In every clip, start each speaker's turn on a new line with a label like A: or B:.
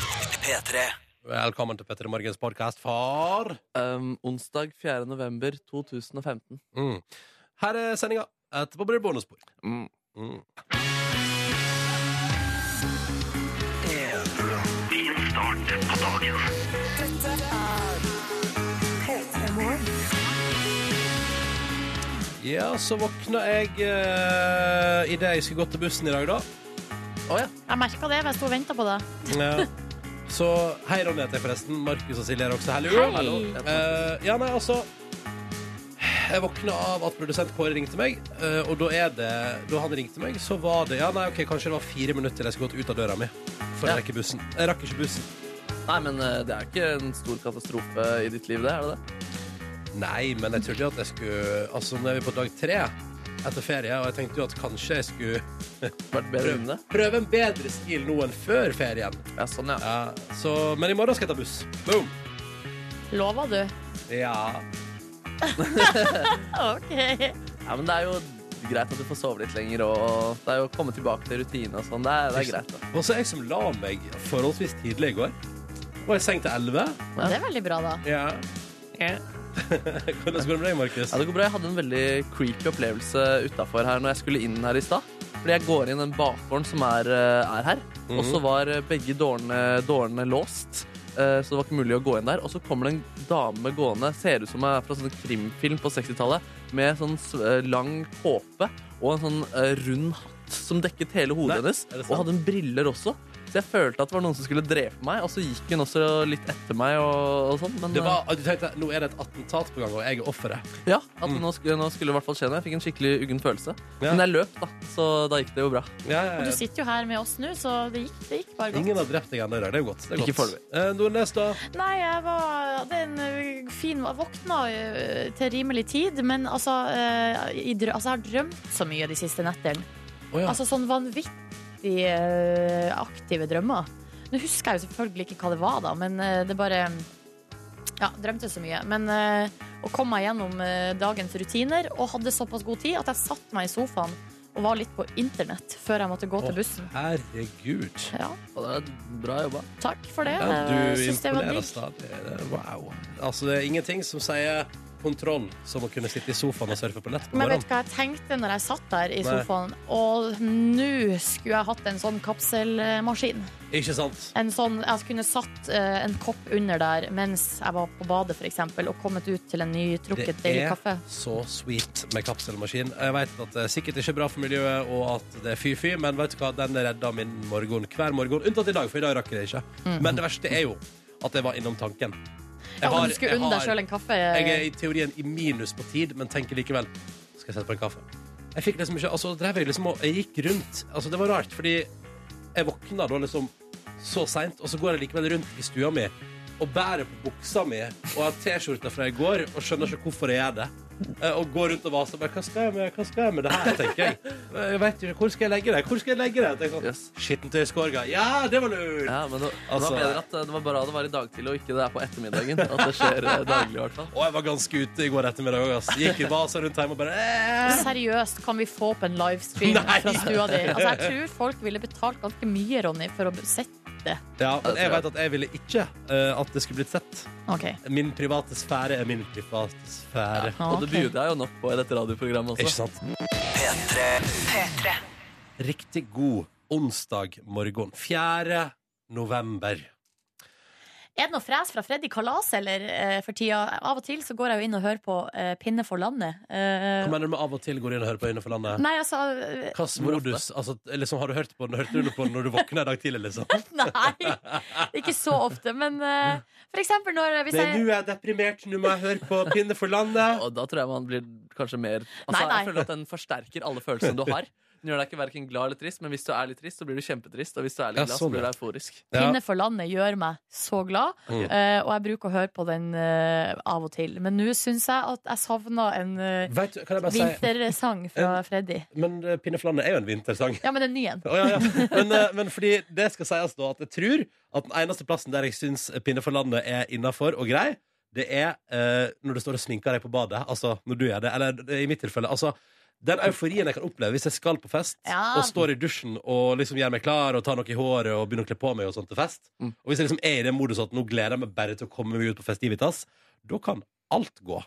A: P3.
B: Velkommen til Petter i Morgens podkast, far.
C: Um, onsdag 4. november 2015.
B: Mm. Her er sendinga. Etterpå blir det bonusspor.
C: Mm.
B: Mm. Ja, så våkna jeg uh, idet jeg skulle gå til bussen i dag, da.
D: Jeg merka det, men jeg sto og venta på deg.
B: Ja. Så hei, Ronny heter jeg forresten. Markus og Silje er også her. Hallo.
D: Hei.
B: Eh, ja, nei, altså Jeg våkna av at produsent Kåre ringte meg, eh, og da er det Da han ringte meg, så var det Ja, nei, OK, kanskje det var fire minutter til jeg skulle gått ut av døra mi for
C: Ja.
B: å rekke bussen. Jeg rakk ikke bussen.
C: Nei, men eh, det er ikke en stor katastrofe i ditt liv, det? er det det?
B: Nei, men jeg trodde jo at jeg skulle Altså, nå er vi på dag tre etter ferie, og jeg tenkte jo at kanskje jeg skulle
C: Vært bedre enn det?
B: prøve en bedre stil nå enn før ferien.
C: Ja, sånn, ja.
B: Ja, så, men i morgen skal jeg ta buss. Boom!
D: Lova du?
B: Ja.
D: OK.
C: ja. Men det er jo greit at du får sove litt lenger, og det er jo å komme tilbake til rutine og sånn. Det, er- det er greit, da.
B: Og så jeg som la meg forholdsvis tidlig i går. Var i seng til elleve.
D: Det er veldig bra, da.
B: Ja. Hvordan går det med deg, Markus?
C: Ja, det går bra. Jeg hadde en veldig creepy opplevelse utafor her når jeg skulle inn her i stad. Fordi jeg går inn den bakgården som er, eh, er her, og
B: Mm. Mhm.
C: så var eh, begge dårene, dårene låst. eh, Så det var ikke mulig å gå inn der. Og så kommer det en dame gående, ser ut som hun er fra sånn krimfilm på 60-tallet, med sånn s- eh, lang kåpe og en sånn eh, rund hatt som dekket hele
B: Nei,
C: hodet hennes.
B: er det sant?
C: Og hadde en briller også. Så jeg følte at det var noen som skulle drepe meg, og så gikk hun også litt etter meg og, og sånn. Men eh,
B: Det var, du tenkte, Nå er det et attentat på gang, og jeg er offeret.
C: ja, at nå, skulle, nå skulle det i hvert fall skje noe. Jeg fikk en skikkelig uggen følelse.
B: Mm. Ja.
C: Men jeg løp, da, så da gikk det jo bra.
B: Ja, ja,
D: Og du
B: ja.
D: sitter jo her med oss nå, så det gikk, det gikk bare godt.
B: Ingen har drept deg ennå i dag. Det er jo godt. Det er
C: Ikke
B: godt.
C: foreløpig.
B: Eh, Nordnes, da?
D: Nei, jeg var hadde en ø, fin Jeg våkna ø, til rimelig tid, men altså, ø, i drø altså Jeg har drømt så mye de siste nettene.
B: Å, ja.
D: Altså sånn vanvittig ø, aktive drømmer. Nå husker jeg jo selvfølgelig ikke hva det var, da, men ø, det bare Ja, drømte så mye. Men ø, å komme meg gjennom ø, dagens rutiner, og hadde såpass god tid at jeg satte meg i sofaen og var litt på internett før jeg måtte gå
B: Å,
D: til bussen.
B: Herregud.
D: Ja,
C: Og det er bra jobba.
D: takk for det. Eh,
B: Ja, du
D: Jeg synes det var
B: imponerer
D: digg.
B: stadig. Det er- Wow. Altså, det er ingenting som sier kontroll som å kunne sitte i sofaen og surfe på nett på
D: Men vet
B: morgenen.
D: du hva jeg tenkte når jeg satt der i
B: Nei.
D: sofaen? Og nå skulle jeg hatt en sånn kapselmaskin.
B: Ikke sant?
D: En sånn, jeg kunne satt eh, en kopp under der mens jeg var på badet, for eksempel og kommet ut til en nytrukket
B: Det
D: deilig
B: er-
D: kaffe.
B: Så sweet med kapselmaskin. Jeg vet at det er sikkert ikke er bra for miljøet, og at det er fy-fy, men vet du hva, den redda min morgen hver morgen. Unntatt i dag, for i dag rakk jeg det ikke. Men det verste er jo at jeg var innom tanken. Jeg
D: Mm. Ja,
B: har-
D: men du skulle
B: jeg
D: unne deg
B: har-
D: sjøl en kaffe.
B: Jeg er i teorien i minus på tid, men tenker likevel Skal jeg sette på en kaffe? Jeg fikk liksom ikke Altså, drev jeg liksom og Jeg gikk rundt. Altså, det var rart, fordi jeg våkna da liksom så seint, og så går jeg likevel rundt i stua mi og bærer på buksa mi og har T-skjorta fra i går og skjønner ikke hvorfor jeg gjør det. Eh, Og går rundt og vaser bare Hva skal jeg med, hva skal jeg med det her, tenker jeg. Eh, Jeg vet ikke, Hvor skal jeg legge det? Hvor skal jeg legge det? Tenker jeg
C: Yes.
B: sånn, Skittentøyskorga. Ja, det var lurt!
C: Ja, men det, det
B: Altså-
C: var bedre at eh, det var bra det var i dagtid og ikke det er på ettermiddagen. At det skjer eh, daglig, i hvert fall.
B: Og jeg var ganske ute i går ettermiddag òg, ass. Gikk i vaser rundt hjemme og bare eh.
D: Seriøst, kan vi få opp en livestream
B: Nei.
D: fra stua di? Altså, jeg tror folk ville betalt ganske mye, Ronny, for å b- sette det.
B: Ja,
C: det
B: men jeg
C: tror
B: vet at jeg ville ikke eh, at det skulle blitt sett.
D: OK.
B: Min private sfære er min private sfære.
D: Ja,
C: Og
D: ok.
C: det bjuder jeg jo nok på i dette radioprogrammet
B: Ikke
C: også.
B: sant? Riktig god onsdag morgen. 4. november.
D: Er det noe fres fra Freddy Kalas eller, eh, for tida? Av og til så går jeg jo inn og hører på eh, Pinne for landet. Eh,
B: Hva mener du med av og til går inn og hører på Innenfor landet?
D: nei, altså eh,
B: Hvilken
C: Hvor ofte?
B: modus altså, liksom, Har du hørt på den? Hørte du på den når du våkna i dag tidlig? liksom?
D: Nei! Ikke så ofte, men eh, for eksempel når hvis
B: Nei,
D: jeg
B: nå er jeg deprimert, nå må jeg høre på Pinne for landet.
C: Og da tror jeg man blir kanskje mer altså,
D: Nei, nei.
C: Jeg føler at den forsterker alle følelsene du har. Den gjør deg ikke hverken glad eller trist, men hvis du er litt trist, så blir du kjempetrist. Og hvis du er
B: Ja,
C: litt glad,
B: sånn,
C: så blir du
B: ja.
C: euforisk.
B: Ja.
D: Pinne for landet gjør meg så glad,
B: Mm.
D: eh, og jeg bruker å høre på den eh, av og til. Men nå syns jeg at jeg savna en eh,
B: Vet du, kan jeg bare si
D: vintersang fra Freddy.
B: Men eh, Pinne for landet er jo en vintersang.
D: Ja, men en ny en.
B: Å, ja, ja. Men, eh, men fordi det skal sies da at jeg tror at den eneste plassen der jeg syns Pinne for landet er innafor og grei, det er eh, når du står og sminker deg på badet. Altså når du gjør det. Eller eh, i mitt tilfelle. Altså Den euforien jeg kan oppleve hvis jeg skal på fest
D: Ja.
B: og står i dusjen og liksom gjør meg klar og tar noe i håret og begynner å kle på meg og sånt til fest.
C: Mm.
B: Og hvis jeg liksom er i det modus at nå gleder jeg meg bare til å komme meg ut på festivitas, da kan alt gå.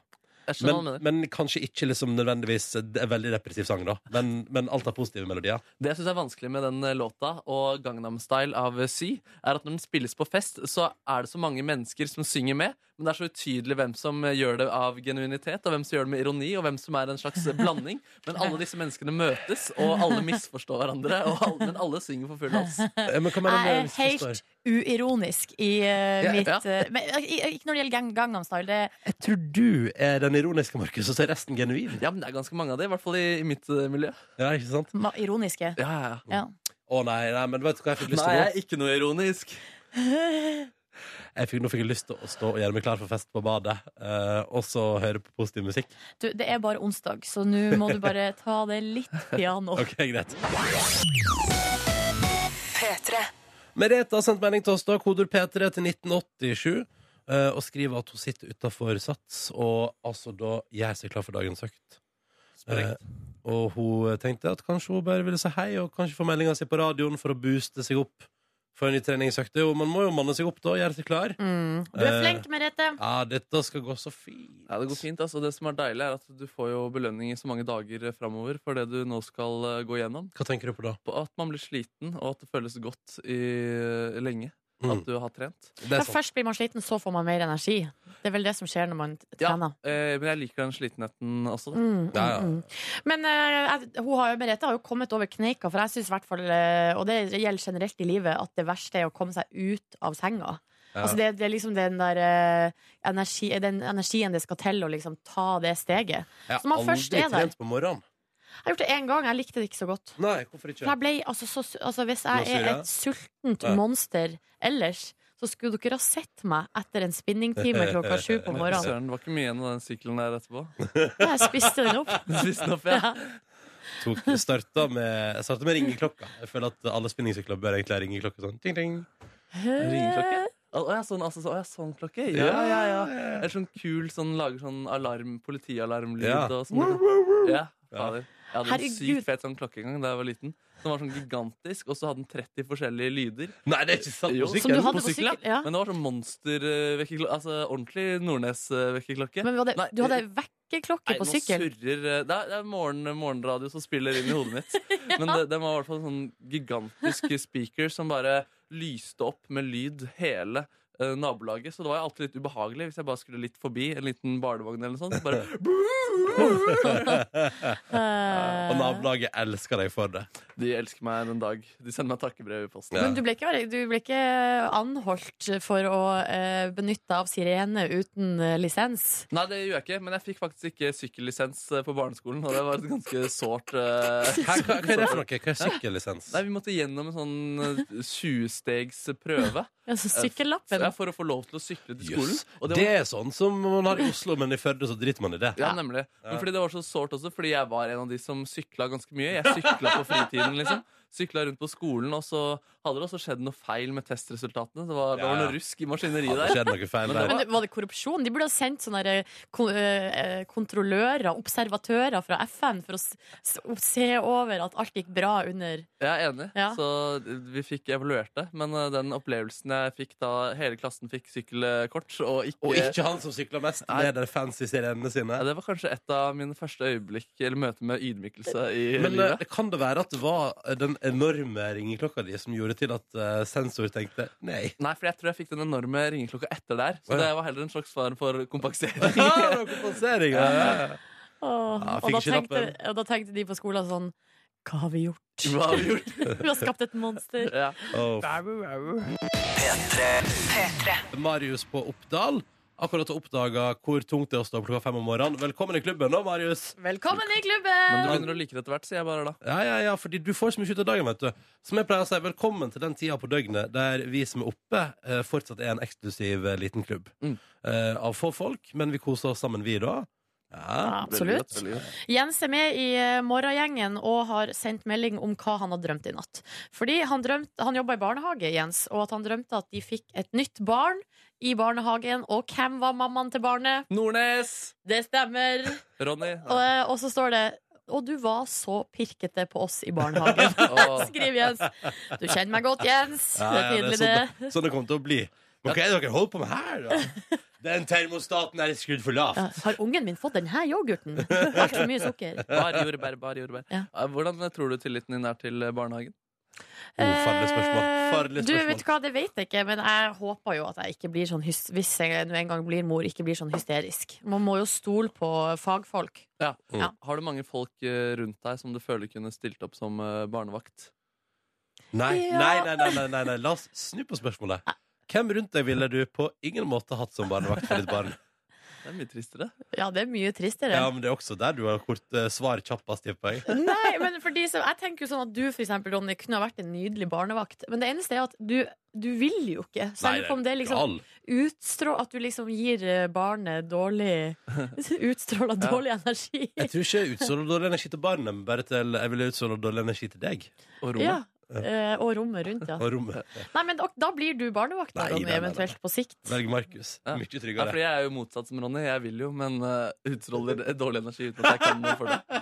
C: Jeg skjønner hva du
B: Men,
C: mener.
B: men kanskje ikke liksom nødvendigvis det er en veldig depressiv sang, da. Men, men alt har positive melodier.
C: Det jeg syns er vanskelig med den eh, låta og Gangnam Style av eh, Sy, er at når den spilles på fest, så er det så mange mennesker som synger med, men det er så utydelig hvem som eh, gjør det av genuinitet, og hvem som gjør det med ironi, og hvem som er en slags eh, blanding. Men alle disse menneskene møtes, og alle misforstår hverandre, og alle, men alle synger for full hals.
B: Eh, Men hva mener
D: Jeg
B: du
D: er
B: hvis jeg
D: helt
B: forstår?
D: uironisk i eh,
C: Ja,
D: mitt
C: ja.
D: eh, Men eh, ikke når det gjelder Gang- Gangnam Style. Det,
B: Jeg tror du er den ironiske, Markus, og så er resten genuin.
C: Ja, men det er ganske mange av de, i hvert fall i, i mitt eh, miljø.
B: Ja, ikke sant?
D: ma- ironiske.
C: Ja, ja, ja.
D: Ja.
B: Å nei, nei, men vet du hva jeg fikk lyst
C: Nei,
B: til nå?
C: jeg er ikke noe ironisk.
B: Jeg fikk, nå fikk jeg lyst til å stå og gjøre meg klar for fest på badet, eh, og så høre på positiv musikk.
D: Du, det er bare onsdag, så nå må du bare ta det litt piano.
B: Ok, greit. Merete har sendt melding til oss da, koder P3 til 1987, eh, og skriver at hun sitter utenfor Sats, og altså da gjør seg klar for dagens økt.
C: Sprengt.
B: Eh, og hun tenkte at kanskje hun bare ville si hei, og kanskje få meldinga si på radioen for å booste seg opp for en ny treningsøkt. Det er jo- Man må jo manne seg opp da, gjøre seg klar.
D: Mm. Du er
B: Eh,
D: flink, Merete.
B: Ja, dette skal gå så fint.
C: Ja, Det går fint. altså. Det som er deilig, er at du får jo belønning i så mange dager eh, framover for det du nå skal eh, gå gjennom.
B: Hva tenker du på da?
C: På at man blir sliten, og at det føles godt i, lenge
B: Mm,
C: at du har trent.
B: det
D: Ja,
B: er sant.
D: først blir man sliten, så får man mer energi. Det er vel det som skjer når man t-
C: Ja.
D: trener.
C: Eh, men jeg liker den slitenheten også. da.
D: Mm, mm,
B: Ja, ja.
D: mm. Men eh, jeg- hun har jo, Merete har jo kommet over kneika, for jeg syns i hvert fall, eh, og det gjelder generelt i livet, at det verste er å komme seg ut av senga.
B: Ja.
D: Altså det, det er liksom den der eh, energi, den energien det skal til å liksom ta det steget.
B: Jeg
D: Så man
B: har
D: først
B: aldri
D: er der.
B: trent på morgenen.
D: Jeg har gjort det én gang, jeg likte det ikke så godt.
B: Nei, hvorfor ikke?
D: For jeg ble, altså, så, su- altså Hvis
B: Nå
D: jeg
B: sier
D: er
B: jeg.
D: et sultent
B: Ja.
D: monster ellers, så skulle dere ha sett meg etter en spinningtime klokka sju på morgenen.
C: Søren, det var ikke mye igjen av den sykkelen der etterpå.
D: Jeg spiste den opp.
C: Spiste den opp, ja.
B: tok, starta med, jeg starta med ringeklokka. Jeg føler at alle spinningsykler bør egentlig ha ringeklokke. Sånn. Ting, ting.
C: Ringeklokke? Å å, ja, sånn, altså, så, å, ja, sånn klokke? Ja, ja, ja. Eller sånn kul sånn lager sånn alarm, politialarmlyd
B: Ja.
C: og sånn. Ja, fader. Jeg hadde en
D: Herregud.
C: sykt fet sånn klokke en gang da jeg var liten. Den var sånn gigantisk, og så hadde den 30 forskjellige lyder.
B: Nei, det er ikke sant!
C: Jo,
B: På
D: Som du
B: sykkelen.
D: hadde
C: på
D: på
C: sykkel,
D: sykkel? Ja.
C: Men det var sånn monstervekkerklokke. Altså ordentlig eh, Nordnes-vekkerklokke.
D: Men vi hadde,
C: Nei,
D: du hadde vekkerklokke på
C: nå
D: sykkel?
C: surrer eh, Det er, det er morgen, morgenradio som spiller inn i hodet mitt. Men det, den var i hvert fall en sånn gigantisk speaker som bare lyste opp med lyd hele eh, nabolaget. Så det var jo alltid litt ubehagelig hvis jeg bare skulle litt forbi en liten barnevogn eller noe sånt. Så bare,
D: Eh,
B: Og nabolaget elsker deg for det.
C: de elsker meg den dag. De sender meg takkebrev i posten.
B: Ja.
D: Men du ble, ikke, du ble ikke eh, anholdt for å eh, benytte deg av sirene uten eh, lisens?
C: Nei, det gjorde jeg ikke, men jeg fikk faktisk ikke sykkellisens eh, på barneskolen, og det var et ganske sårt eh,
B: Hva, hva, hva er det for noe? Hva er sykkellisens?
C: Nei, vi måtte gjennom en sånn eh, 20-stegs prøve
D: Altså
C: for,
D: sykkellappen?
C: for å få lov til å sykle til skolen.
B: Jøss.
C: Og
B: Det,
C: det var,
B: er sånn som man har i Oslo, men i Førde så driter man i det.
C: ja, nemlig. Men
B: Ja.
C: fordi det var så sårt også, fordi jeg var en av de som sykla ganske mye. Jeg sykla på fritiden, liksom. Sykla rundt på skolen, og så hadde det også skjedd noe feil med testresultatene. Det var, det var
B: Ja, ja.
C: noe rusk i maskineriet
B: Hadde
C: der.
B: skjedd noe feil
C: Men det
B: der.
D: Men det, var det korrupsjon? De burde ha sendt sånne der, eh, ko- eh, eh, kontrollører, observatører fra FN, for å s s se over at alt gikk bra under
C: Jeg er enig.
D: Ja.
C: Så vi fikk evaluert det. Men eh, den opplevelsen jeg fikk da hele klassen fikk sykkelkort, og ikke,
B: Og ikke han som sykler mest,
C: Nei.
B: med de fancy sirenene sine.
C: ja, Det var kanskje et av mine første øyeblikk eller møter med ydmykelse i
B: Men eh,
C: livet.
B: det kan det være at det var eh, den enorme ringeklokka di som gjorde til at eh, sensor tenkte nei?
C: Nei, for jeg tror jeg fikk den enorme ringeklokka etter der. Så
B: Å, ja.
C: det var heller en slags form for kompensering.
B: Ah, noe kompensering, ja, ja, ja.
D: Åh,
B: Ja,
D: og, da
B: fikk ikke
D: tenkte,
B: lappen.
D: og da tenkte de på skolen sånn Hva har vi gjort?
C: Hva har vi gjort?
D: Vi har skapt et monster.
C: Ja.
B: Oh, Marius på Oppdal. Akkurat har oppdaga hvor tungt det er å stå opp klokka fem om morgenen. Velkommen i klubben nå, Marius.
D: Velkommen i
C: Men
D: klubben!
C: du begynner å like det etter hvert, sier jeg bare da.
B: Ja, ja, ja, fordi du får så mye ut av dagen, vet du. Som jeg pleier å si, velkommen til den tida på døgnet der vi som er oppe, eh, fortsatt er en eksklusiv eh, liten klubb.
C: Mm.
B: Eh, av få folk, men vi koser oss sammen, vi da. Ja.
D: Absolutt.
C: Veldig godt, veldig godt.
D: Jens er med i eh, morgengjengen og har sendt melding om hva han har drømt i natt. Fordi han, drømte- han jobba i barnehage, Jens, og at han drømte at de fikk et nytt barn i barnehagen. Og hvem var mammaen til barnet?
C: Nordnes!
D: Det stemmer. eh,
C: Ronny.
D: Og, og så står det og du var så pirkete på oss i barnehagen.
C: Åh.
D: Skriv Jens. Du kjenner meg godt, Jens.
B: Ja,
D: det
B: ja,
D: er tydelig,
B: sånn
D: det.
B: det, sånn det kommer til å bli. Men hva er det dere holder på med her, da? Den termostaten er skrudd for
D: Ja,
B: lavt.
D: Har ungen min fått denne yoghurten? Altfor mye sukker.
C: Bare jordbær, bare jordbær.
D: Ja.
C: Eh, Hvordan tror du tilliten din er til eh, barnehagen?
B: Oh, farlig spørsmål. Farlig
D: Eh, Du, vet du
B: spørsmål.
D: hva, det vet jeg ikke, men jeg håper jo at jeg ikke blir sånn hys Hvis jeg nå en gang blir mor, ikke blir sånn hysterisk. Man må jo stole på fagfolk.
C: Har du mange folk eh, rundt deg som du føler kunne stilt opp som eh, barnevakt?
B: Nei,
D: Ja.
B: nei, nei, nei, nei, nei, nei. La oss snu på spørsmålet. Hvem rundt deg ville du på ingen måte hatt som barnevakt for ditt barn?
C: Det er mye tristere.
D: Ja, det er mye tristere.
B: Ja, men Det er også der du har kort eh, svar kjappest, tipper jeg.
D: Nei, men for de som, Jeg tenker jo sånn at du for eksempel, Ronny, kunne ha vært en nydelig barnevakt. Men det eneste er at du, du vil jo ikke. Så jeg
B: Nei,
D: lurer på om det er liksom
B: gal.
D: utstrå At du liksom gir eh, barnet dårlig Utstråler
C: Ja.
D: dårlig energi.
B: Jeg tror ikke jeg utstråler dårlig energi til barnet, men bare til jeg ville utstråle dårlig energi til deg
C: Og rommet.
D: Ja. Eh, og rommet rundt, ja.
B: og rommet.
D: Nei, men da- Da blir du barnevakt, da,
B: Nei,
D: Ronny,
B: nei, nei, nei.
D: eventuelt på sikt.
B: Velg Markus.
C: Ja.
B: Mye
C: Ja,
B: tryggere.
C: fordi jeg er jo motsatt som Ronny. Jeg vil jo, men eh, utstråler dårlig energi uten at jeg kan noe for det.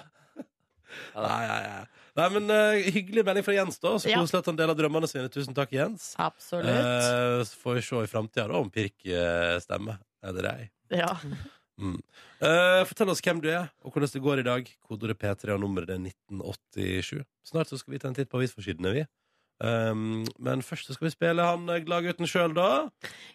B: Nei, ja, ja. Nei, men eh, Hyggelig melding fra Jens, da. Så
D: Ja.
B: koselig at han deler drømmene sine. Tusen takk, Jens.
D: Absolutt.
B: Eh, så får vi se i framtida om pirk eh, stemmer. Eller ei.
D: Ja.
B: Mm. Eh, fortell oss hvem du er, og hvordan det går i dag. Kodeordet P3 og nummeret det er 1987. Snart så skal vi ta en titt på avisforsidene, vi. Um, men først så skal vi spille han eh, Gladgutten sjøl, da.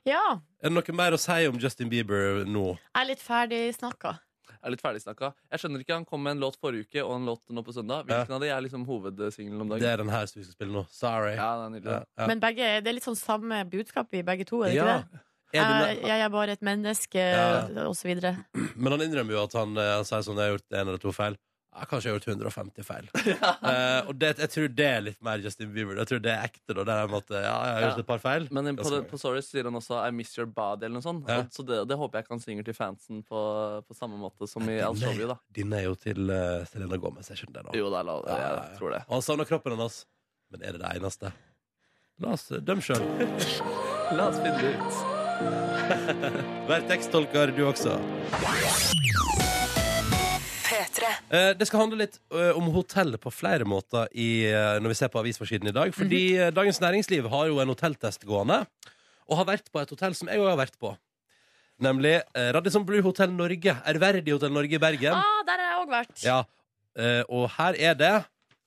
D: ja.
B: Er det noe mer å si om Justin Bieber nå?
D: Jeg er litt ferdig snakka.
C: Jeg er litt ferdigsnakka. Jeg skjønner ikke, Han kom med en låt forrige uke og en låt nå på søndag. Hvilken av de er liksom hovedsingelen om
B: Det
C: dagen?
B: er den her som vi skal spille nå. Sorry.
C: Ja, den er nydelig.
B: Ja, ja.
D: Men begge, det er litt sånn samme budskap i begge to, er det
B: Ja.
D: ikke det?
B: Er du
D: Jeg,
B: med-
D: jeg er bare et menneske,
B: Ja.
D: og så videre.
B: Men han innrømmer jo at han, eh, han sier sånn Jeg har gjort en eller to feil. Ja, kanskje jeg har gjort 150 feil. Eh, og det, jeg tror det er litt mer Justin Bieber. Jeg tror det er ekte. Da, det er med at, eh, ja, jeg har gjort
C: Ja.
B: et par feil.
C: Men på,
B: Ganske
C: det,
B: mange.
C: på Sorry sier han også 'I miss your body' eller noe sånt.
B: Ja.
C: Og Så det, det håper jeg kan synge til fansen på, på samme måte som i I'll Show You, da.
B: Din er jo til eh, Selena Gomez. Jeg skjønner det nå.
C: Jo, det er lov.
B: Ja, ja,
C: Jeg
B: ja.
C: tror det.
B: Og han savner kroppen hennes. Men er det det eneste? La oss eh, dømme sjøl.
C: La oss finne det ut.
B: Vær teksttolker, du også. Eh, Det skal handle litt eh, om hotellet på flere måter i, eh, når vi ser på avisforsiden i dag. Fordi eh, Dagens Næringsliv har jo en hotelltest gående, og har vært på et hotell som jeg òg har vært på. Nemlig eh, Radisson Blue Hotel Norge. Ærverdig Hotell Norge i Bergen.
D: Ah, der har jeg òg vært.
B: Ja, eh, Og her er det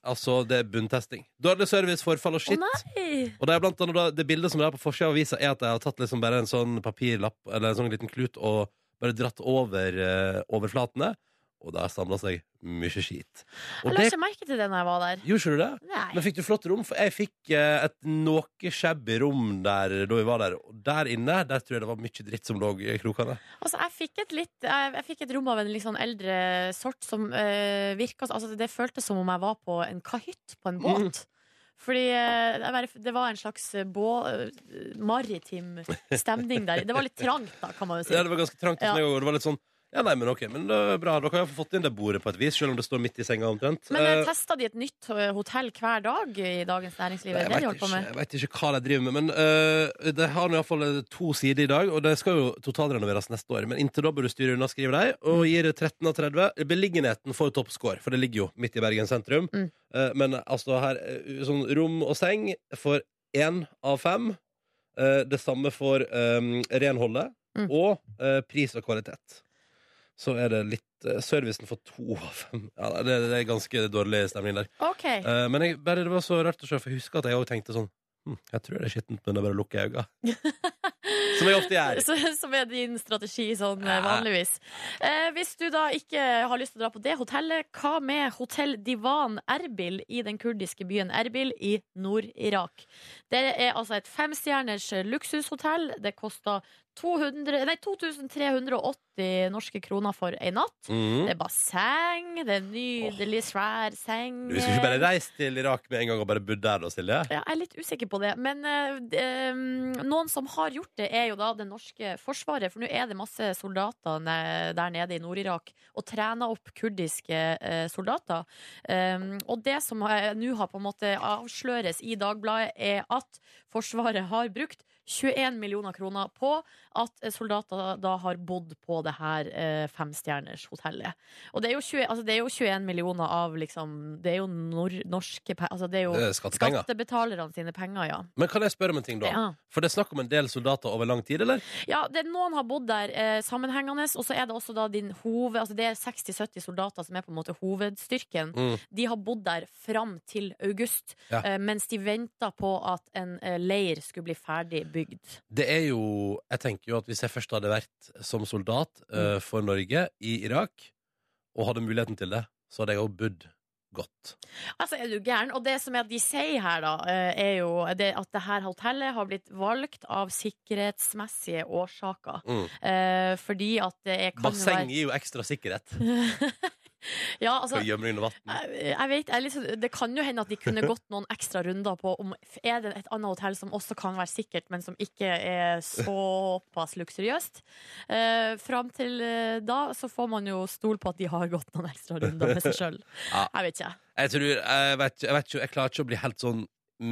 B: Altså, det er bunntesting. Dårlig service, forfall og
D: Å
B: skitt.
D: nei!
B: Og det, er blant annet, da- det bildet som er på forsida av avisa, er at jeg har tatt liksom bare en sånn papirlapp eller en sånn liten klut og bare dratt over eh, overflatene. Og der samla seg mye skit. Og
D: Jeg la
B: det
D: ikke merke til det når jeg var der.
B: Gjorde ikke du det?
D: Nei.
B: Men fikk du flott rom? For jeg fikk eh, et noe shabby rom der da vi var der. Og der inne der tror jeg det var mye dritt som lå i krokene.
D: Altså, jeg fikk et litt Jeg, jeg fikk et rom av en litt sånn eldre sort som uh, virka altså, Det føltes som om jeg var på en kahytt på
B: Mhm.
D: en båt. Fordi eh, jeg bare, det var en slags eh, bå, eh, maritim stemning der. Det var litt trangt, da, kan man jo si.
B: Ja, det var ganske trangt. hos
D: Ja.
B: meg også, og Det var litt sånn ja, nei, men ok, men det er bra. Dere har iallfall fått inn det bordet på et vis, selv om det står midt i senga omtrent.
D: Men
B: Eh,
D: testa de et nytt eh, hotell hver dag i Dagens Næringsliv? Er det det de
B: jeg,
D: holdt på med?
B: vet ikke, jeg vet ikke hva de driver med, men øh, det har nå i hvert fall to sider i dag, og det skal jo totalrenoveres neste år. Men inntil da bør du styre unna, skriver de, og gir 13 av 30. Beliggenheten får toppscore, for det ligger jo midt i Bergen sentrum.
D: Mm.
B: Eh, men altså her, eh, sånn rom og seng får én av fem. Eh, det samme for eh, renholdet
D: Mm.
B: og eh, pris og kvalitet. Så er det litt eh, Servicen får to av fem. Ja, det, det er ganske dårlig stemning der.
D: OK.
B: Eh, men jeg, bare, det var så rart å se, for jeg husker at jeg òg tenkte sånn hm, Jeg tror det er skittent, men det er bare å lukke øynene. Som jeg ofte gjør.
D: Så, som er din strategi sånn eh,
B: Ja.
D: vanligvis. Eh, hvis du da ikke har lyst til å dra på det hotellet, hva med Hotell Divan Erbil i den kurdiske byen Erbil i Nord-Irak? Det er altså et femstjerners luksushotell. Det koster 200, nei, 2380 norske kroner for ei natt.
B: Mm.
D: Det er basseng, det er nydelig, svær seng.
B: Du skulle ikke bare reist til Irak med en gang og bare bodd der, da, Silje?
D: Ja, jeg er litt usikker på det. Men eh, d- eh, noen som har gjort det, er jo da det norske forsvaret. For nå er det masse soldater ne der nede i Nord-Irak og trener opp kurdiske eh, soldater. Um, og det som har- nå har på en måte avsløres i Dagbladet, er at Forsvaret har brukt 21 millioner kroner på at eh, soldater da har bodd på det her eh, femstjernershotellet. Og det er, jo 20, altså det er jo 21 millioner av liksom Det er jo nor norske pe- altså Det er jo
B: Eh, Skattepenger.
D: skattebetalerne sine penger, ja.
B: Men kan jeg spørre om en ting, da?
D: ja.
B: For det er snakk om en del soldater over lang tid, eller?
D: Ja, det, noen har bodd der eh, sammenhengende, og så er det også da din hoved... Altså det er 60-70 soldater som er på en måte hovedstyrken.
B: Mm.
D: De har bodd der fram til august,
B: Ja.
D: eh, mens de venta på at en eh, leir skulle bli ferdig bygd.
B: Det er jo Jeg tenker jo at hvis jeg først hadde vært som soldat eh,
D: Mm.
B: for Norge i Irak, og hadde muligheten til det, så hadde jeg òg bodd godt.
D: Altså, er du gæren? Og det som er at de sier her, da, eh, er jo det at det her hotellet har blitt valgt av sikkerhetsmessige årsaker.
B: Mm.
D: Eh, fordi at det er kan jo
B: Basseng gir jo ekstra sikkerhet.
D: være Ja, altså
B: Skal gjemme deg under vann.
D: jeg, jeg vet, jeg er litt sånn- Det kan jo hende at de kunne gått noen ekstra runder på om er det et annet hotell som også kan være sikkert, men som ikke er såpass luksuriøst. Eh, Fram til eh, da så får man jo stole på at de har gått noen ekstra runder med seg sjøl.
B: Ja.
D: Jeg vet ikke.
B: Jeg tror Jeg vet jeg vet ikke Jeg klarer ikke å bli helt sånn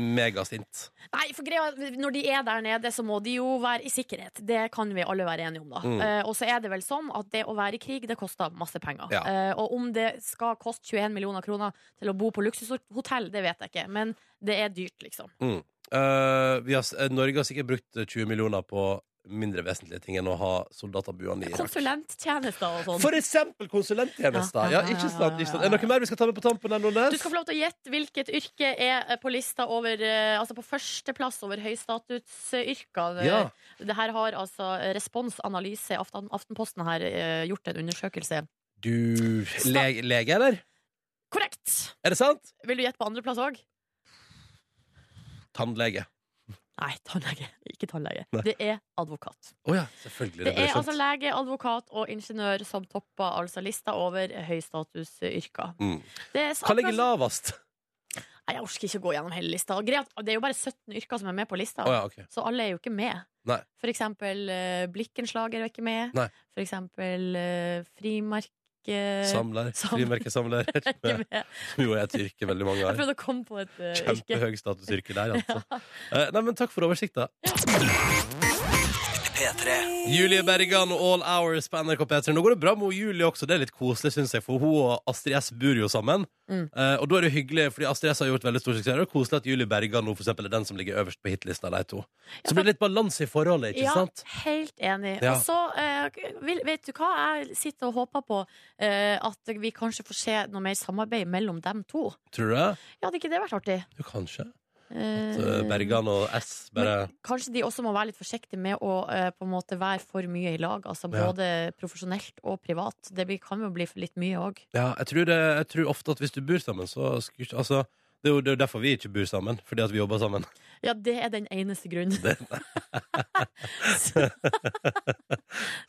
B: megasint.
D: Nei, for greia, er at Når de er der nede, så må de jo være i sikkerhet. Det kan vi alle være enige om. da
B: Mm.
D: Eh, Og så er det vel sånn at det å være i krig, det koster masse penger.
B: Ja.
D: Eh, og om det skal koste 21 millioner kroner til å bo på luksushotell, det vet jeg ikke. Men det er dyrt, liksom.
B: Eh, vi har, s- eh, Norge har sikkert brukt 20 millioner på mindre vesentlige ting enn å ha soldater buende i Irak.
D: Konsulenttjenester og sånn.
B: For eksempel konsulenttjenester!
D: Ja,
B: Ja,
D: ja, ja,
B: ikke sant?
D: ja, ja,
B: Ikke sant. Er det noe mer vi skal ta med på tampen? her, Nordnes?
D: Du skal få lov til å gjette hvilket yrke er eh, på lista over eh, Altså på førsteplass over høystatusyrker.
B: Ja.
D: Det her har altså Responsanalyse, Aften, Aftenposten her, eh, gjort en undersøkelse.
B: Du le Lege, eller?
D: Korrekt!
B: Er det sant?
D: Vil du gjette på andreplass òg?
B: Tannlege.
D: Nei, tannlege. Ikke tannlege.
B: Nei.
D: Det er advokat.
B: Å ja,
D: Det
B: selvfølgelig. Det,
D: er
B: blir skjønt.
D: altså lege, advokat og ingeniør som topper altså lista over høystatusyrker.
B: Mm.
D: Det er
B: Hva ligger
D: akkurat-
B: lavest?
D: Nei, Jeg orker ikke å gå gjennom hele lista. Og greia er at Det er jo bare 17 yrker som er med på lista,
B: Å ja, OK.
D: så alle er jo ikke med.
B: Nei.
D: For eksempel eh, blikkenslager er ikke med.
B: Nei.
D: For eksempel eh, frimerke
B: Samler.
D: Eh, sam-
B: Frimerkesamler.
D: er ikke med.
B: jo, jeg et yrke veldig mange
D: Jeg
B: har.
D: prøvde å komme på et eh, yrke.
B: Kjempehøy statusyrke der, altså. Eh, Nei, men takk for oversikta. Julie Bergan og All Hours på NRK P3. Nå går det bra med Julie også, det er litt koselig, syns jeg, for hun og Astrid S bor jo sammen.
D: Mm.
B: Eh, og da er det jo hyggelig, fordi Astrid S har gjort veldig stor suksess. og Det er koselig at Julie Bergan nå for eksempel, er den som ligger øverst på hitlista, de to. Så blir det litt balanse i forholdet, ikke
D: ja,
B: sant?
D: helt enig.
B: Ja.
D: Og så, eh, vil- vet du hva, jeg sitter og håper på eh, at vi kanskje får se noe mer samarbeid mellom dem to.
B: Tror du det?
D: Ja, hadde ikke det vært artig?
B: Jo, kanskje.
D: Eh,
B: Så Bergan og S bare
D: Men kanskje de også må være litt forsiktige med å eh, på en måte være for mye i lag. Altså
B: Ja.
D: Både profesjonelt og privat. Det blir, kan jo bli for litt mye òg.
B: Ja, jeg tror, det, jeg tror ofte at hvis du bor sammen, så skulle ikke Altså, det er jo det er jo derfor vi ikke bor sammen, fordi at vi jobber sammen.
D: Ja, det er den eneste grunnen.
B: Det-
D: Så-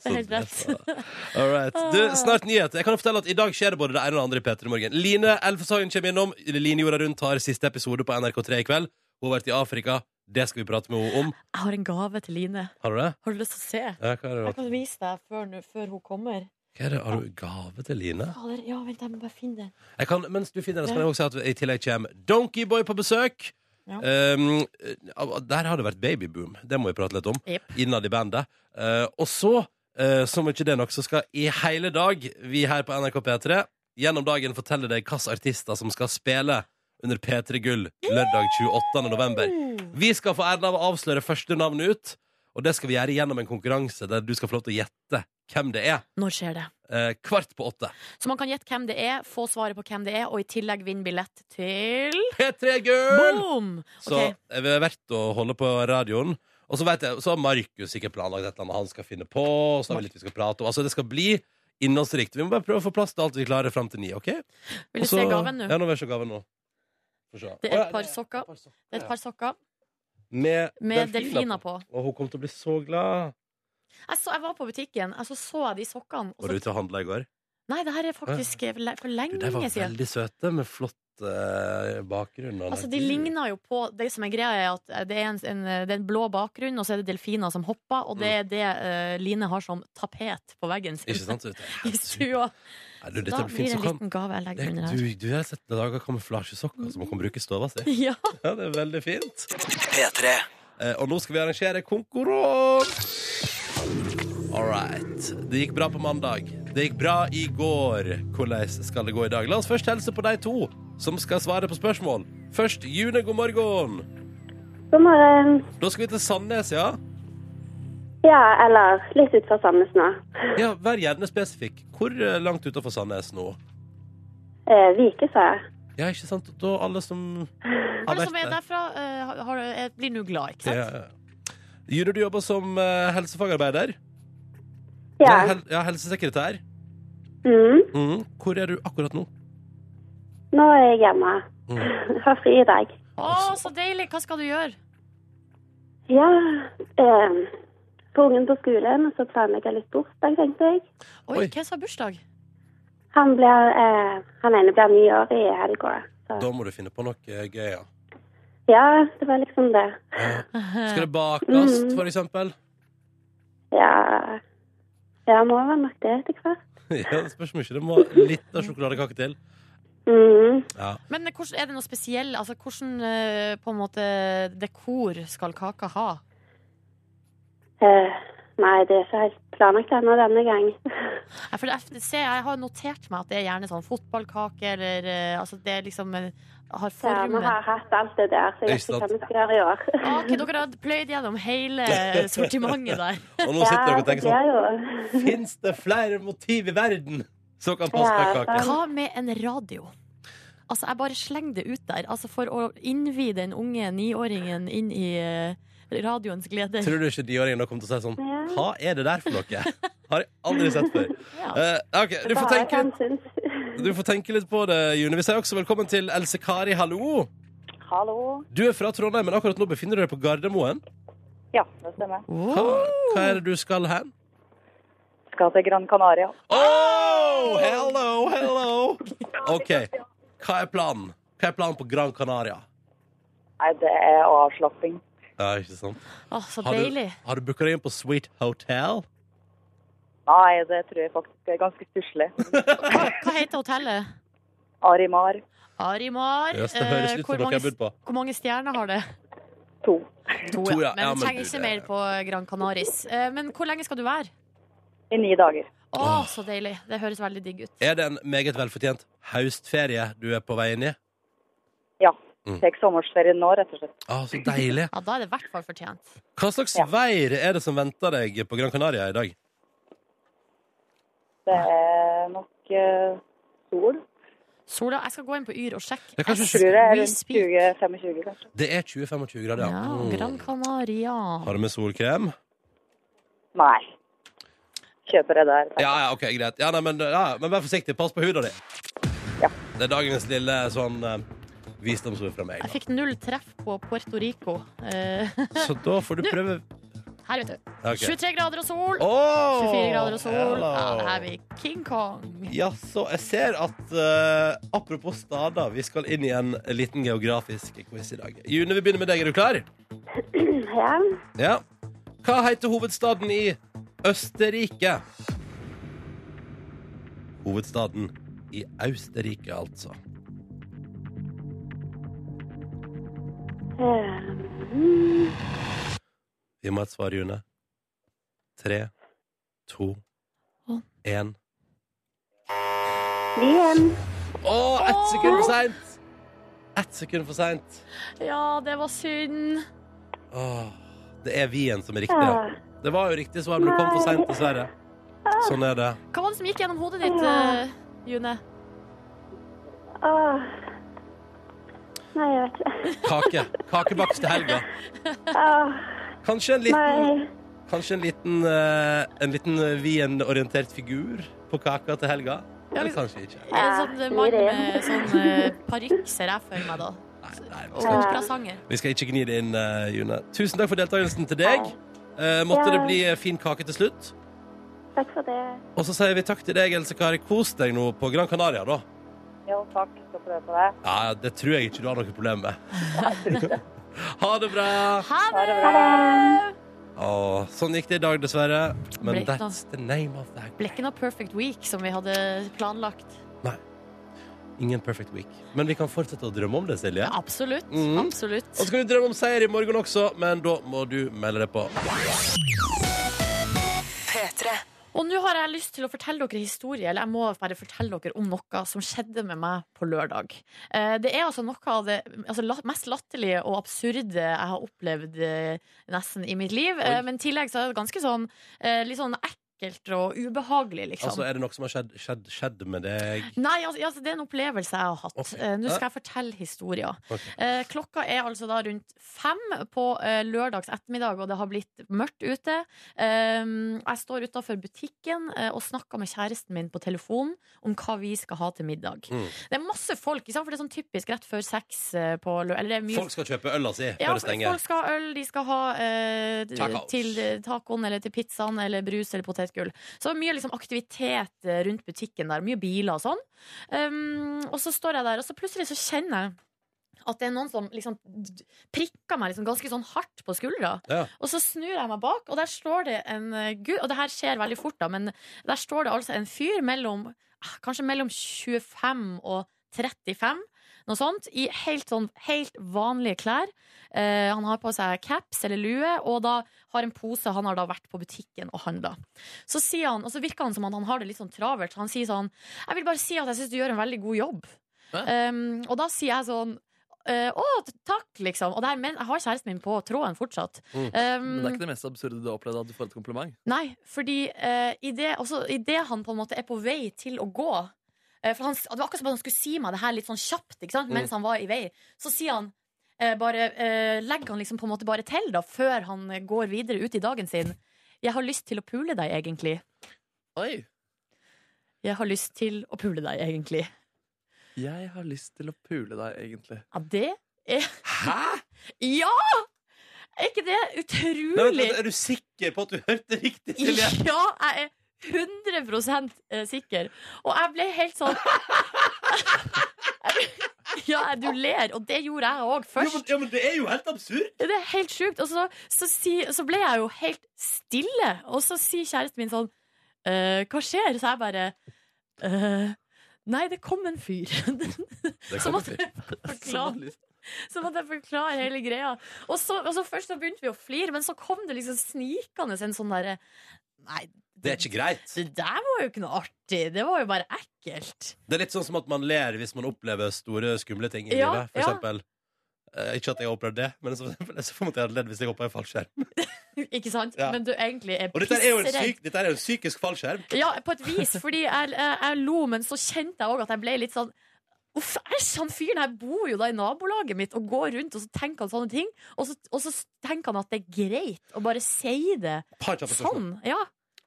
B: Så
D: helt rett.
B: derfor. All right. Du, snart nyhet. Jeg kan jo fortelle at I dag skjer det både det ene og det andre i P3 Morgen. Line Elfeshagen kommer innom. Line Jorda Rundt har siste episode på NRK3 i kveld. Hun har vært i Afrika. Det skal vi prate med henne om.
D: Jeg har en gave til Line.
B: Har du det?
D: Har du lyst til å se?
B: Ja, hva er det?
D: Jeg kan vise deg før, nu- før hun kommer.
B: Hva er det? Har du gave til Line?
D: Fader, ja, vent, jeg må bare finne den.
B: Jeg kan, mens du finner den, så kan jeg også si at i tillegg kommer Donkeyboy på besøk.
D: Ja.
B: Um, eh, der har det vært babyboom. Det må vi prate litt om.
D: Jep.
B: Innad i bandet. Eh, og så, eh, som ikke det nok, så skal i hele dag vi her på NRK P3 gjennom dagen fortelle deg hvilke artister som skal spille under P3 Gull lørdag 28. november. Vi skal få æren av å avsløre første navnet ut, og det skal vi gjøre gjennom en konkurranse der du skal få lov til å gjette hvem det er.
D: Når skjer det?
B: eh, kvart på åtte.
D: Så man kan gjette hvem det er, få svaret på hvem det er, og i tillegg vinne billett til
B: P3 Gull!
D: Boom!
B: Så
D: Ok.
B: jeg har vært å holde på radioen. Og så vet jeg, så har Markus sikkert planlagt et eller annet han skal finne på. Og så har vi litt vi skal prate om. Altså, det skal bli innholdsrikt. Vi må bare prøve å få plass til alt vi klarer fram til ni. ok?
D: Vil du
B: Og så-
D: se gaven nå?
B: Ja, nå vil jeg se gaven nå. Få se.
D: Det er
B: Å,
D: et
B: ja,
D: par sokker. Det er et par sokker
B: Med,
D: med delfiner på.
B: Og hun kommer til å bli så glad.
D: Jeg, så, jeg var på butikken, og så så jeg de sokkene. Og
B: Var du
D: så,
B: ute og handla i går?
D: nei, det her er faktisk le- for
B: Du,
D: lenge
B: de var
D: siden.
B: veldig søte, med flott eh, bakgrunn. og
D: Altså, de
B: natur.
D: ligner jo på Det som er greia, er at eh, det er en, en, det er en blå bakgrunn, og så er det delfiner som hopper, og det er det eh, Line har som tapet på veggen sin.
B: Mm. Ikke sant? Så vet
D: I
B: jeg,
D: stua.
B: Nei, du,
D: da
B: dette blir
D: blir det
B: fint. Så
D: en
B: kan,
D: liten gave jeg legger under
B: det,
D: her.
B: du, du har sett i dag har kamuflasjesokker som man kan bruke i stova si.
D: Ja.
B: Ja, det er veldig fint. Eh, Og nå skal vi arrangere konkurranse! All right. Det gikk bra på mandag. Det gikk bra i går. Hvordan skal det gå i dag? La oss først hilse på de to som skal svare på spørsmål. Først June, god morgen.
A: God morgen.
B: Da skal vi til Sandnes, ja?
A: Ja, eller litt ut fra Sandnes nå.
B: Ja, Vær gjerne spesifikk. Hvor eh, langt utenfor Sandnes nå?
A: Eh, Vikesøy.
B: Ja, ikke sant? Da alle som har
D: Alle som
B: vært
D: er derfra, eh, har, har, er- blir nå glad, ikke sant?
B: Ja, ja. June, du jobber som eh, helsefagarbeider.
A: Ja.
B: Nei, hel ja helsesekretær.
A: Mm.
B: Mhm. Hvor er du akkurat nå?
A: Nå er jeg hjemme.
B: Mm.
A: Har fri i dag.
D: Å, så deilig! Hva skal du gjøre?
A: Ja. Eh, på ungen på skolen, og så planlegger jeg litt bursdag, tenkte jeg.
D: Oi,
B: Oi.
D: hvem som har bursdag?
A: Han, blir, eh, han ene blir ni år i helga. Så
B: Da må du finne på noe eh, gøy, ja.
A: ja, det var liksom det.
B: Skal det bakes,
A: Mhm.
B: for eksempel?
A: Ja. Ja, må vel nok det etter hvert.
B: ja, det spørs om ikke det må litt av sjokoladekake til.
A: Mm.
B: Ja.
D: Men eh, hvordan, er det noe spesiell? Altså, hvordan eh, på en måte dekor skal kaka ha?
A: Eh, nei, det er ikke helt planlagt ennå denne gang.
D: Nei, for det, se, jeg har notert meg at det er gjerne sånn fotballkake eller eh, Altså, det er liksom eh,
A: Ja,
D: har
A: vi
D: formen.
A: har hatt alt det der, så jeg vet ikke hva vi skal gjøre i år.
D: Ah, ok, dere har pløyd gjennom hele sortimentet der.
B: Og nå sitter dere og tenker sånn
A: Ja, det er jo
B: Fins det flere motiv i verden som kan passe på en
A: Ja,
B: kake?
D: Hva med en radio? Altså, jeg bare slenger det ut der. Altså, for å innvie den unge niåringen inn i eh, radioens gleder.
B: Tror du ikke niåringen da kommer til å si sånn
A: Ja.
B: Hva er det der for noe? Har jeg aldri sett før.
D: Ja.
B: Eh, OK, du får
A: bare
B: tenke
A: han syns. sånn.
B: Du får tenke litt på det, June. Vi sier også velkommen til Else Kari, hallo.
E: Hallo.
B: Du er fra Trondheim, men akkurat nå befinner du deg på Gardermoen.
E: Ja, det stemmer.
B: Hva, hva er det du skal hen?
E: Skal til Gran Canaria.
B: Oh, hello, hello! OK, hva er planen? Hva er planen på Gran Canaria?
E: Nei, det er avslapping.
B: Ja, ikke sant?
D: Å, så
B: Har du,
D: deilig.
B: har du booka deg inn på Sweet Hotel?
E: Nei, det tror jeg faktisk er ganske stusslig.
D: Hva, hva heter hotellet?
E: Arimar
D: Arimar. eh,
B: Jøss, det høres ut som noe jeg har budt på.
D: hvor mange stjerner har det?
E: 2.
D: To,
B: To, ja.
D: Men
B: Ja,
D: jeg
B: men
D: trenger
B: du,
D: ikke
B: det-
D: mer på Gran Canaris. Eh, Men hvor lenge skal du være?
E: I ni dager.
D: Å, så deilig. Det høres veldig digg ut.
B: Er det en meget velfortjent høstferie du er på vei inn i?
E: Ja.
B: Mm.
E: Tek sommerferie nå, rett og slett.
B: Ah, så deilig.
D: Ja, da er det i hvert fall fortjent.
B: Hva slags
E: Ja.
B: vær er det som venter deg på Gran Canaria i dag?
E: Det er nok eh, sol.
D: Sola, jeg skal gå inn på Yr og sjekke.
B: Det er kanskje
D: As
E: Tror det er
D: we
E: rundt
D: speak.
E: 20-25, kanskje.
B: Det er 20-25 grader,
D: Ja,
B: ja.
D: Gran
B: Mm.
D: Canaria.
B: Har du med solkrem?
E: Nei. Kjøper jeg der. takk.
B: Ja, ja, ok, greit. Ja, nei, men, ja, men vær forsiktig. Pass på huden din.
E: Ja.
B: Det er dagens lille sånn eh, visdomsord fra meg.
D: Jeg fikk null treff på Puerto Rico. Eh,
B: Da. Så da får du prøve
D: her, vet du.
B: Ok.
D: 23 grader og sol.
B: Åh!
D: 24 grader og sol.
B: Hello.
D: Ja, det her blir King Kong.
B: Ja, så jeg ser at eh, Apropos stader, vi skal inn i en liten geografisk quiz i dag. June, vi begynner med deg. Er du klar?
A: Ja.
B: Ja. Hva heter hovedstaden i Østerrike? Hovedstaden i Austerrike, altså.
A: Eh,
B: Vi må ha et svar, June. Tre, to,
D: Å.
B: én
A: Lien.
B: Å, ett sekund for seint! Ett sekund for seint.
D: Ja, det var synd.
B: Åh, Det er Wien som er riktig.
A: Ja.
B: ja. Det var jo riktig svar, men du kom for seint, dessverre. Sånn er det.
D: Hva var det som gikk gjennom hodet ditt, eh, June?
A: Åh. Nei, jeg vet ikke.
B: Kake. Kakebakst til helga.
A: Åh.
B: Kanskje en
A: Nei.
B: liten, kanskje en liten, eh, en liten Wien-orientert figur på kaka til helga? Eller kanskje ikke.
D: En sånn eh, mann
A: Ja,
D: med sånn eh, parykk ser jeg for meg, da.
B: Nei, nei, vi
D: Og
B: skal ikke.
D: operasanger.
B: Vi skal ikke gni det inn, eh, June. Tusen takk for deltakelsen til deg. Eh, måtte det bli fin kake til slutt.
A: Takk for det.
B: Og så sier vi takk til deg, Else Kari. Kos deg nå på Gran Canaria, da.
E: Jo, takk. Skal prøve på det.
B: Ja, Det tror jeg ikke du har noe problem med. ha det bra!
D: Ha det!
A: Ha det.
B: Å, sånn gikk det i dag, dessverre. Men
D: Ble-
B: that's the name of that.
D: Ble ikke noe perfect week som vi hadde planlagt.
B: Ingen perfect week. Men vi kan fortsette å drømme om det, Silje.
D: Ja, absolutt.
B: Mhm.
D: absolutt.
B: Og så kan vi drømme om seier i morgen også, men da må du melde deg på.
D: Og nå har jeg lyst til å fortelle dere historie, eller jeg må bare fortelle dere om noe som skjedde med meg på lørdag. Eh, Det er altså noe av det altså, la- mest latterlige og absurde jeg har opplevd eh, nesten i mitt liv. Eh, Men i tillegg så er det ganske sånn eh, litt sånn ekkelt og ubehagelig, liksom.
B: Altså, Er det noe som har skjedd, skjedd, skjedd med deg?
D: Nei, altså, altså, det er en opplevelse jeg har hatt.
B: Ok.
D: Eh, Nå skal jeg fortelle historier.
B: Ok.
D: Eh, klokka er altså da rundt fem på eh, lørdags ettermiddag, og det har blitt mørkt ute. Eh, jeg står utafor butikken eh, og snakker med kjæresten min på telefonen om hva vi skal ha til middag.
B: Mm.
D: Det er masse folk, ikke sant? for det er sånn typisk rett før seks eh, på lørdag. Eller det er mye
B: Folk skal kjøpe altså. øla
D: ja,
B: si før det
D: folk
B: stenger.
D: skal ha øl, de skal ha eh,
B: Tacos.
D: til eh, tacoen eller til pizzaen eller brus eller potetgull. Så mye liksom, aktivitet eh, rundt butikken der, mye biler og sånn. Um, og så står jeg der, og så plutselig så kjenner jeg at det er noen som liksom d- prikker meg liksom ganske sånn hardt på skuldra.
B: Ja.
D: Og så snur jeg meg bak, og der står det en eh, gud Og det her skjer veldig fort, da, men der står det altså en fyr mellom ah, Kanskje mellom 25 og 35, noe sånt, i helt, sånn, helt vanlige klær. Eh, han har på seg caps eller lue, og da har en pose. Han har da vært på butikken og handla. Så sier han, og så virker han som at han har det litt sånn travelt. så Han sier sånn Jeg vil bare si at jeg syns du gjør en veldig god jobb.
C: Hæ?
D: Em, og da sier jeg sånn eh, Å, takk, liksom. Og det er, men jeg har kjæresten min på tråden fortsatt. Ehm,
B: Mm.
D: Em,
C: Men det er ikke det mest absurde du har opplevd, at du får et kompliment.
D: Nei, fordi uh, i, det, også, i det han på en måte er på vei til å gå eh, For han, s- det var akkurat som at han skulle si meg det her litt sånn kjapt ikke sant?
B: Mm.
D: mens han var i vei. Så sier han eh, bare, eh, legger han liksom på en måte bare til, da, før han eh, går videre ut i dagen sin. Jeg har lyst til å pule deg, egentlig.
C: Oi!
D: Jeg har lyst til å pule deg, egentlig.
C: Jeg har lyst til å pule deg, egentlig.
D: Ja, det er
B: Hæ?!
D: Ja! Er ikke det utrolig?
B: Nei, vent, vent, er du sikker på at du hørte riktig, Silje?
D: Ja, jeg er 100 eh, sikker. Og jeg ble helt sånn Ja, du ler, og det gjorde jeg òg
B: Ja men,
D: først.
B: ja, men det er jo helt absurd!
D: Det er helt sjukt. Og så, så, si, så ble jeg jo helt stille, og så sier kjæresten min sånn «Eh, Hva skjer? Så jeg bare «Eh, Nei, det kom en fyr.
B: Det
D: så
B: kommer
D: måtte
B: til.
D: jeg forklare så måtte jeg forklare hele greia. Og så, og så først så begynte vi å flire, men så kom det liksom snikende en sånn derre Nei,
B: Det er ikke greit.
D: det der var jo ikke noe artig. Det var jo bare ekkelt.
B: Det er litt sånn som at man ler hvis man opplever store, skumle ting i
D: Ja,
B: livet. For
D: ja.
B: eksempel eh, Ikke at jeg har opplevd det, men så, så får man til å ledd hvis jeg hopper i fallskjerm.
D: Ikke sant?
B: Ja.
D: Men du egentlig er
B: Og dette er jo en,
D: pissredd.
B: syk, dette er jo en psykisk fallskjerm.
D: Ja, på et vis, fordi jeg, jeg, jeg lo, men så kjente jeg òg at jeg ble litt sånn Uff, æsj, han fyren her bor jo da i nabolaget mitt og går rundt og så tenker han sånne ting. Og så, og så tenker han at det er greit å bare si det
B: Par kjappe spørsmål.
D: sånn. Ja.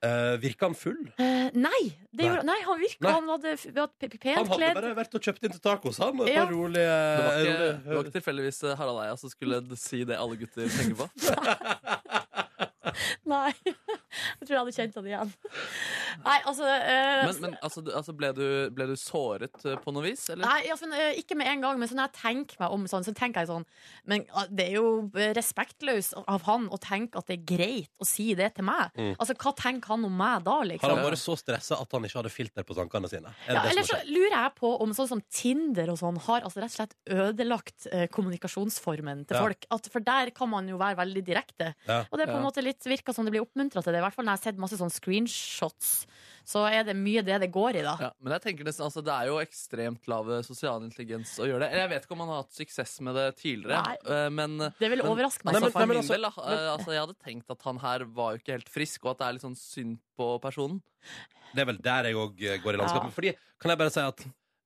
B: Eh, virker han full?
D: Eh, nei, det
B: Nei.
D: gjorde, nei, han virka
B: Nei.
D: Han hadde, f- var p- p-
B: Han
D: pent
B: hadde
D: kledd.
B: bare vært og kjøpt inn til tacos, han. Et
D: Ja.
B: par rolige,
C: Det var ikke,
B: rolige-
C: det var ikke tilfeldigvis eh, Harald Eia som skulle si det alle gutter tenker på.
D: Nei. Jeg tror jeg hadde kjent han igjen. Nei, altså eh,
C: Men, men altså, du- altså ble, du, ble du såret eh, på noe vis, eller?
D: Nei, altså, eh, ikke med en gang, men så når jeg tenker meg om sånn, så tenker jeg sånn Men ah, det er jo eh, respektløst av han å tenke at det er greit å si det til meg.
B: Mm.
D: Altså, hva tenker han om meg da,
B: Har
D: liksom?
B: han vært så stressa at han ikke hadde filter på tankene sine? Er det
D: Ja,
B: det som
D: eller
B: har
D: så
B: skjedd?
D: lurer jeg på om sånn som Tinder og sånn har altså rett og slett ødelagt eh, kommunikasjonsformen til
B: Ja.
D: folk. At, for der kan man jo være veldig direkte.
B: Ja.
D: Og det er på en
C: Ja.
D: måte litt virka som det blir oppmuntra til det. I hvert fall når jeg har sett masse sånn screenshots, så er det mye det det går i, da.
C: Ja, men jeg tenker nesten, altså, Det er jo ekstremt lav eh, sosial intelligens å gjøre det. Eller Jeg vet ikke om han har hatt suksess med det tidligere. eh, Men,
D: Det vil
C: Men-
D: overraske meg.
C: altså,
B: Nei, men-
C: for
B: men
C: min
B: altså-
C: del, da, eh, altså, jeg hadde tenkt at han her var jo ikke helt frisk, og at det er litt sånn synd på personen.
B: Det er vel der jeg òg går i
D: Ja.
B: landskap. Men Fordi, kan jeg bare si at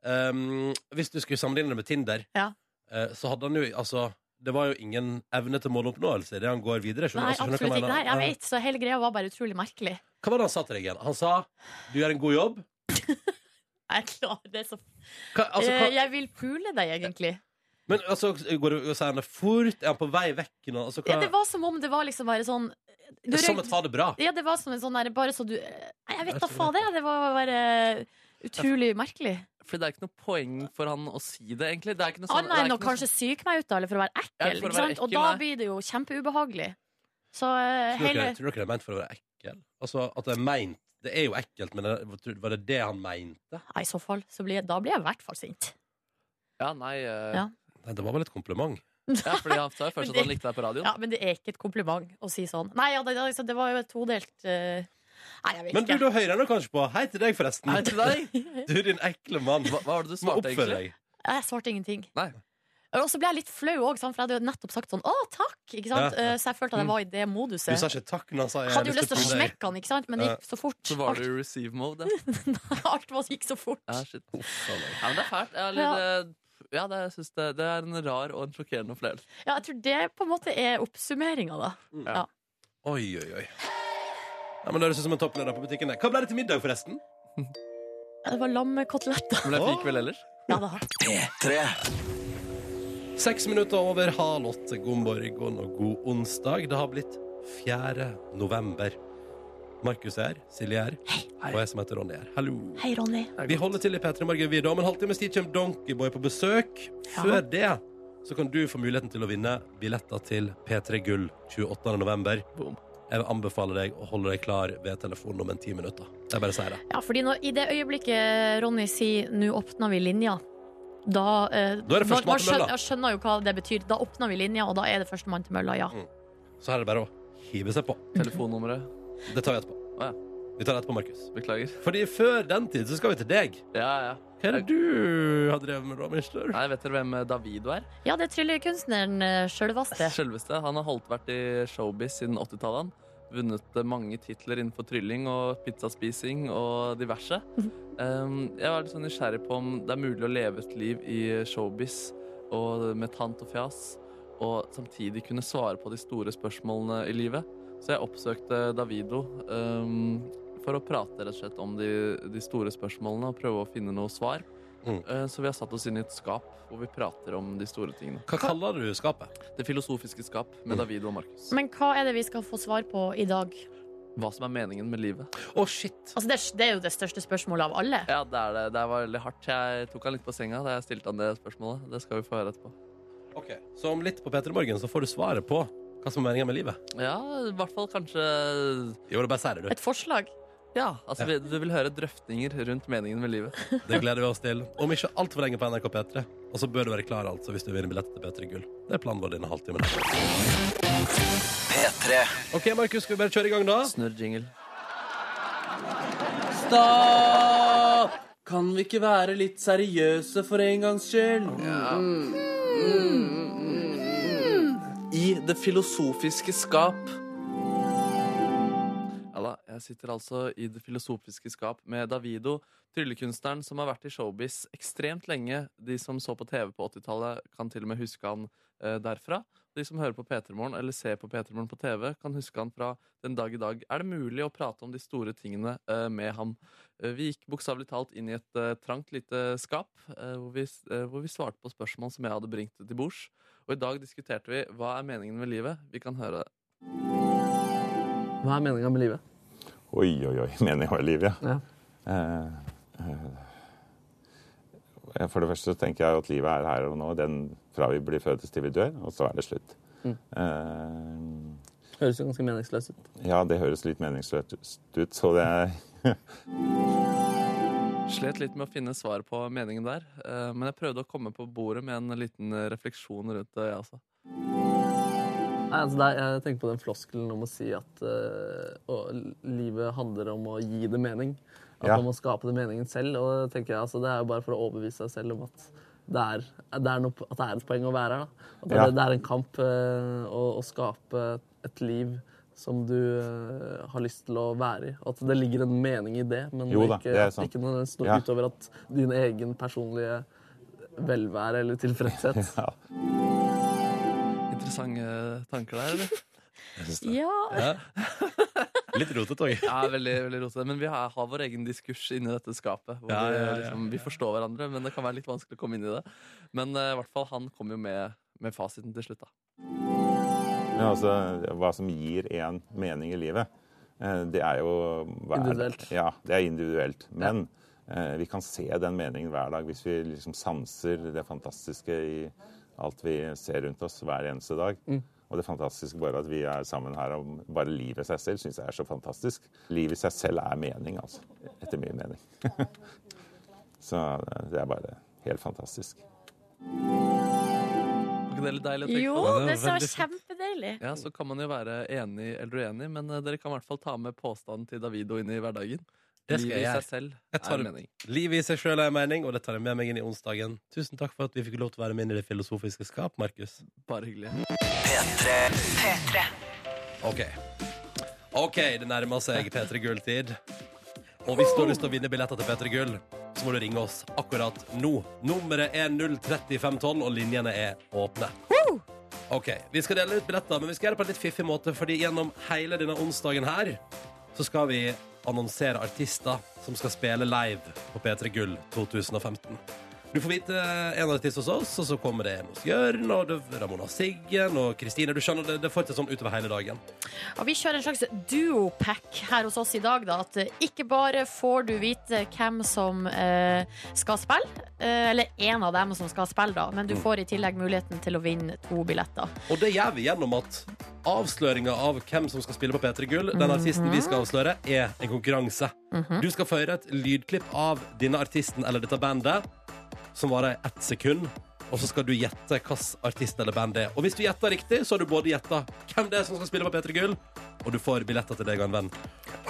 B: ehm, hvis du skulle sammenligne det med Tinder,
D: Ja.
B: eh, så hadde han jo altså det var jo ingen evne til måloppnåelse i det han går
D: Nei,
B: videre. skjønner du? Altså, skjønner du hva
D: absolutt ikke. Nei, jeg
B: mener?
D: vet, så hele greia var bare utrolig merkelig.
B: Ja. Hva var det han sa til deg igjen? Han sa 'du gjør en god jobb'.
D: Jeg klarer det så
B: Hva, altså,
D: Eh,
B: hva,
D: Jeg vil pule deg, egentlig.
B: men altså, går det, sier han det fort? Er han på vei vekk nå? Altså,
D: Ja,
B: hva,
D: det var som om det var liksom bare sånn du,
B: som et ha det bra.
D: Ja, det var som en sånn der, bare så du Nei, jeg vet da fader, jeg. Det var bare utrolig merkelig.
C: Fordi det er ikke noe poeng for han å si det, egentlig. Det er ikke noe sånn,
D: Annet
C: det
D: enn
C: er
D: å
C: ikke noe
D: kanskje syke meg ut, da, eller for å være
C: Ja,
D: ekkel.
C: for å
D: ikke
C: være
D: sant? Og
C: ekkel,
D: da
C: nei.
D: blir det jo kjempeubehagelig. Så eh,
B: Tror
D: hele
B: dere, tror dere det er meint for å være ekkel? Altså, at det er meint Det er jo ekkelt, men det- var det det han mente?
D: Nei, I så fall. Så blir, jeg- da blir jeg i hvert fall sint.
C: Ja, nei eh,
D: Ja.
B: Nei, det var vel et kompliment.
C: ja, fordi Han sa jo først at han likte deg på radioen.
D: Ja, Men det er ikke et kompliment å si sånn. Nei, ja, det, det- altså, det var jo et todelt eh, Nei, jeg vet
B: Men du,
D: ikke.
B: da hører jeg nå kanskje på. Hei til deg, forresten.
C: Nei, til deg!
B: Du, din ekle mann.
C: Hva, hva var det du
B: Må
C: svarte,
B: oppføre
C: egentlig?
B: deg.
D: Jeg svarte ingenting.
C: Nei.
D: Og så ble jeg litt flau òg, for jeg hadde jo nettopp sagt sånn 'Å, takk', ikke sant?
B: Ja, ja.
D: Eh, Så jeg følte at jeg var i det moduset.
B: Du sa ikke takk når han sa jeg
D: Hadde jo
B: har
D: lyst til å
B: pule deg.
D: smekke han, ikke sant? Men det gikk så fort.
C: Så var du i receive mode. Ja.
D: Alt, alt var- gikk så fort.
C: Ja, shit. ja, men det er fælt. Ja, eller, det- ja det, jeg synes det, det er en rar og en sjokkerende opplevelse.
D: Ja, jeg tror det på en måte er oppsummeringa, da.
B: Oi, oi, oi. Ja, men Det høres ut som en toppleder på butikken. der. Hva ble det til middag, forresten?
D: Ja, Det var lammekoteletter.
C: Men det fikk vel ellers.
D: Ja, da.
B: Seks minutter over halv åtte. God morgen og god onsdag. Det har blitt 4. november. Markus er her, Silje er her, og jeg som heter Ronny er her. Hallo.
D: Hei, Ronny.
B: Vi holder til i P3 Morgen videre. Om en halvtimes tid kommer Donkeyboy på besøk. Før det så kan du få muligheten til å vinne billetter til P3 Gull 28. november.
C: Boom.
B: Jeg vil anbefale deg å holde deg klar ved telefonen om en ti minutter. Jeg bare sier det.
D: Ja, fordi når, i det øyeblikket Ronny sier 'nå åpner vi linja', da eh,
B: Da er det førstemann
D: man
B: til mølla.
D: skjønner, jeg skjønner jo hva det betyr. Da åpner vi linja, og da er det førstemann til mølla, ja.
B: Så her er det bare å hive seg på.
C: Telefonnummeret.
B: Det tar vi etterpå.
C: Å, ja.
B: Vi tar det etterpå, Markus.
C: Beklager.
B: Fordi før den tid så skal vi til deg.
C: Ja, ja.
B: Hva er det du har drevet med, da, mister?
C: Nei, vet dere hvem eh, Davido er?
D: Ja, det er tryllekunstneren eh, sjølveste.
C: Selveste. Han har holdt vært i showbiz siden 80-tallet. han. Vunnet eh, mange titler innenfor trylling og pizzaspising og diverse. Um, jeg var litt sånn nysgjerrig på om det er mulig å leve et liv i showbiz og med tant og fjas, og samtidig kunne svare på de store spørsmålene i livet. Så jeg oppsøkte Davido um, for å prate rett og slett om de, de store spørsmålene og prøve å finne noe svar.
B: Mm.
C: Uh, så vi har satt oss inn i et skap hvor vi prater om de store tingene.
B: Hva kaller du skapet?
C: Det filosofiske skap med Davido og Markus.
D: Men hva er det vi skal få svar på i dag?
C: Hva som er meningen med livet.
B: Å, shit!
D: Altså, det, er, det er jo det største spørsmålet av alle.
C: Ja, det, er det. det var veldig hardt. Jeg tok han litt på senga da jeg stilte han det spørsmålet. Det skal vi få høre etterpå.
B: Ok, Så om litt på P3 Morgen så får du svaret på hva som er meningen med livet.
C: Ja, i hvert fall kanskje
B: Jo, det bare sier det,
D: Et forslag.
C: Ja, altså vi- du vil høre drøftinger rundt meningen med livet.
B: du. Det gleder vi oss til. Om ikke altfor lenge på NRK P3. Og så bør du være klar altså hvis du vinner billett til P3 Gull. Det er planen vår denne halvtimen. OK, Markus, skal vi bare kjøre i gang, da?
C: Snurr jingle. Stopp! Kan vi ikke være litt seriøse for en gangs skyld? I det filosofiske skap. Ja da, jeg sitter altså i det filosofiske skap med Davido, tryllekunstneren som har vært i showbiz ekstremt lenge. De som så på TV på 80-tallet, kan til og med huske han eh, derfra. De som hører på P3morgen eller ser på P3morgen på TV, kan huske han fra den dag i dag. Er det mulig å prate om de store tingene eh, med ham? Eh, vi gikk bokstavelig talt inn i et eh, trangt lite skap, eh, hvor, vi, s- eh, hvor vi svarte på spørsmål som jeg hadde bringt til bords. Og i dag diskuterte vi hva er meningen med livet. Vi kan høre det. Hva er meninga med livet?
F: Oi, oi, oi, meningen med livet,
C: Ja.
F: Eh, eh, For det første så tenker jeg at livet er her og nå, den fra vi blir født til vi dør, og så er det slutt. Eh,
C: Høres jo ganske meningsløst ut.
F: ja, det høres litt meningsløst ut, så det er
C: Slet litt med å finne svar på meningen der, eh, men jeg prøvde å komme på bordet med en liten eh, refleksjon rundt det, jeg også.
G: Nei, altså det er, jeg tenker på den floskelen om å si at eh, å, livet handler om å gi det mening. At
F: Ja.
G: man må skape det meningen selv. Og det tenker jeg, altså, det er jo bare for å overbevise seg selv om at det er, det er, noe, at det er et poeng å være her. Da. At det,
F: Ja.
G: det er en kamp eh, å, å skape et liv som du eh, har lyst til å være i. At det ligger en mening i det, men
F: Jo da,
G: ikke,
F: det er
G: at
F: sant.
G: ikke noe noe
F: Ja.
G: utover at din egen personlige velvære eller tilfredshet.
F: ja.
C: Interessante tanker der, eller?
B: Jeg synes det.
D: Ja.
B: Ja. Litt rotete òg.
C: Ja, veldig, veldig rotete. Men vi har, har vår egen diskurs inni dette skapet. Hvor
B: Ja,
C: vi,
B: ja, ja, ja.
C: Liksom, vi forstår hverandre, men det kan være litt vanskelig å komme inn i det. Men eh, i hvert fall han kom jo med, med fasiten til slutt, da.
F: Men altså, hva som gir en mening i livet, eh, det er jo hva er det?
G: Individuelt.
F: Ja, det er individuelt. Men eh, vi kan se den meningen hver dag hvis vi liksom sanser det fantastiske i alt vi ser rundt oss hver eneste dag. Og det fantastiske bare at vi er sammen her om bare livet i seg selv, syns jeg er så fantastisk. Livet i seg selv er mening, altså. Etter min mening. så eh, det er bare helt fantastisk.
C: Var ikke det litt deilig å tenke
D: Jo,
C: på?
B: det var
D: det var
B: veldig fint.
D: kjempedeilig.
C: Ja, Så kan man jo være enig eller uenig, men eh, dere kan i hvert fall ta med påstanden til Davido inn i hverdagen.
B: Det skal
C: Livet i
B: jeg
C: seg selv
B: Jeg tar
C: er
B: det-
C: mening.
B: Livet i seg sjøl er en mening, og det tar jeg med meg inn i onsdagen. Tusen takk for at vi fikk lov til å være med inn i det filosofiske skap, Markus.
C: Bare hyggelig.
B: OK. OK, det nærmer seg P3 Gull-tid. Og hvis du har lyst til å vinne billetter til P3 Gull, så må du ringe oss akkurat nå. Nummeret er 03512, og linjene er åpne. OK. Vi skal dele ut billetter, men vi skal gjøre det på en litt fiffig måte, fordi gjennom hele denne onsdagen her så skal vi annonsere artister som skal spille live på P3 Gull 2015. Du får vite en artist hos oss, og så kommer det en hos Jørn og det- Ramona Siggen og Kristine. Du skjønner, det, det fortsetter sånn utover hele dagen.
D: Og vi kjører en slags duopack her hos oss i dag. Da, at eh, ikke bare får du vite hvem som eh, skal spille, eh, eller én av dem som skal spille, da,
B: Mm.
D: men du får i tillegg muligheten til å vinne to billetter.
B: Og det gjør vi gjennom at avsløringa av hvem som skal spille på P3 Gull, den artisten vi skal avsløre, er en konkurranse. Du skal få høre et lydklipp av denne artisten eller dette bandet, som varer i ett sekund. Og så skal du gjette hvilken artist eller band det er. Og hvis du gjetter riktig, så har du både gjetta hvem det er som skal spille på P3 Gull, og du får billetter til deg og en venn.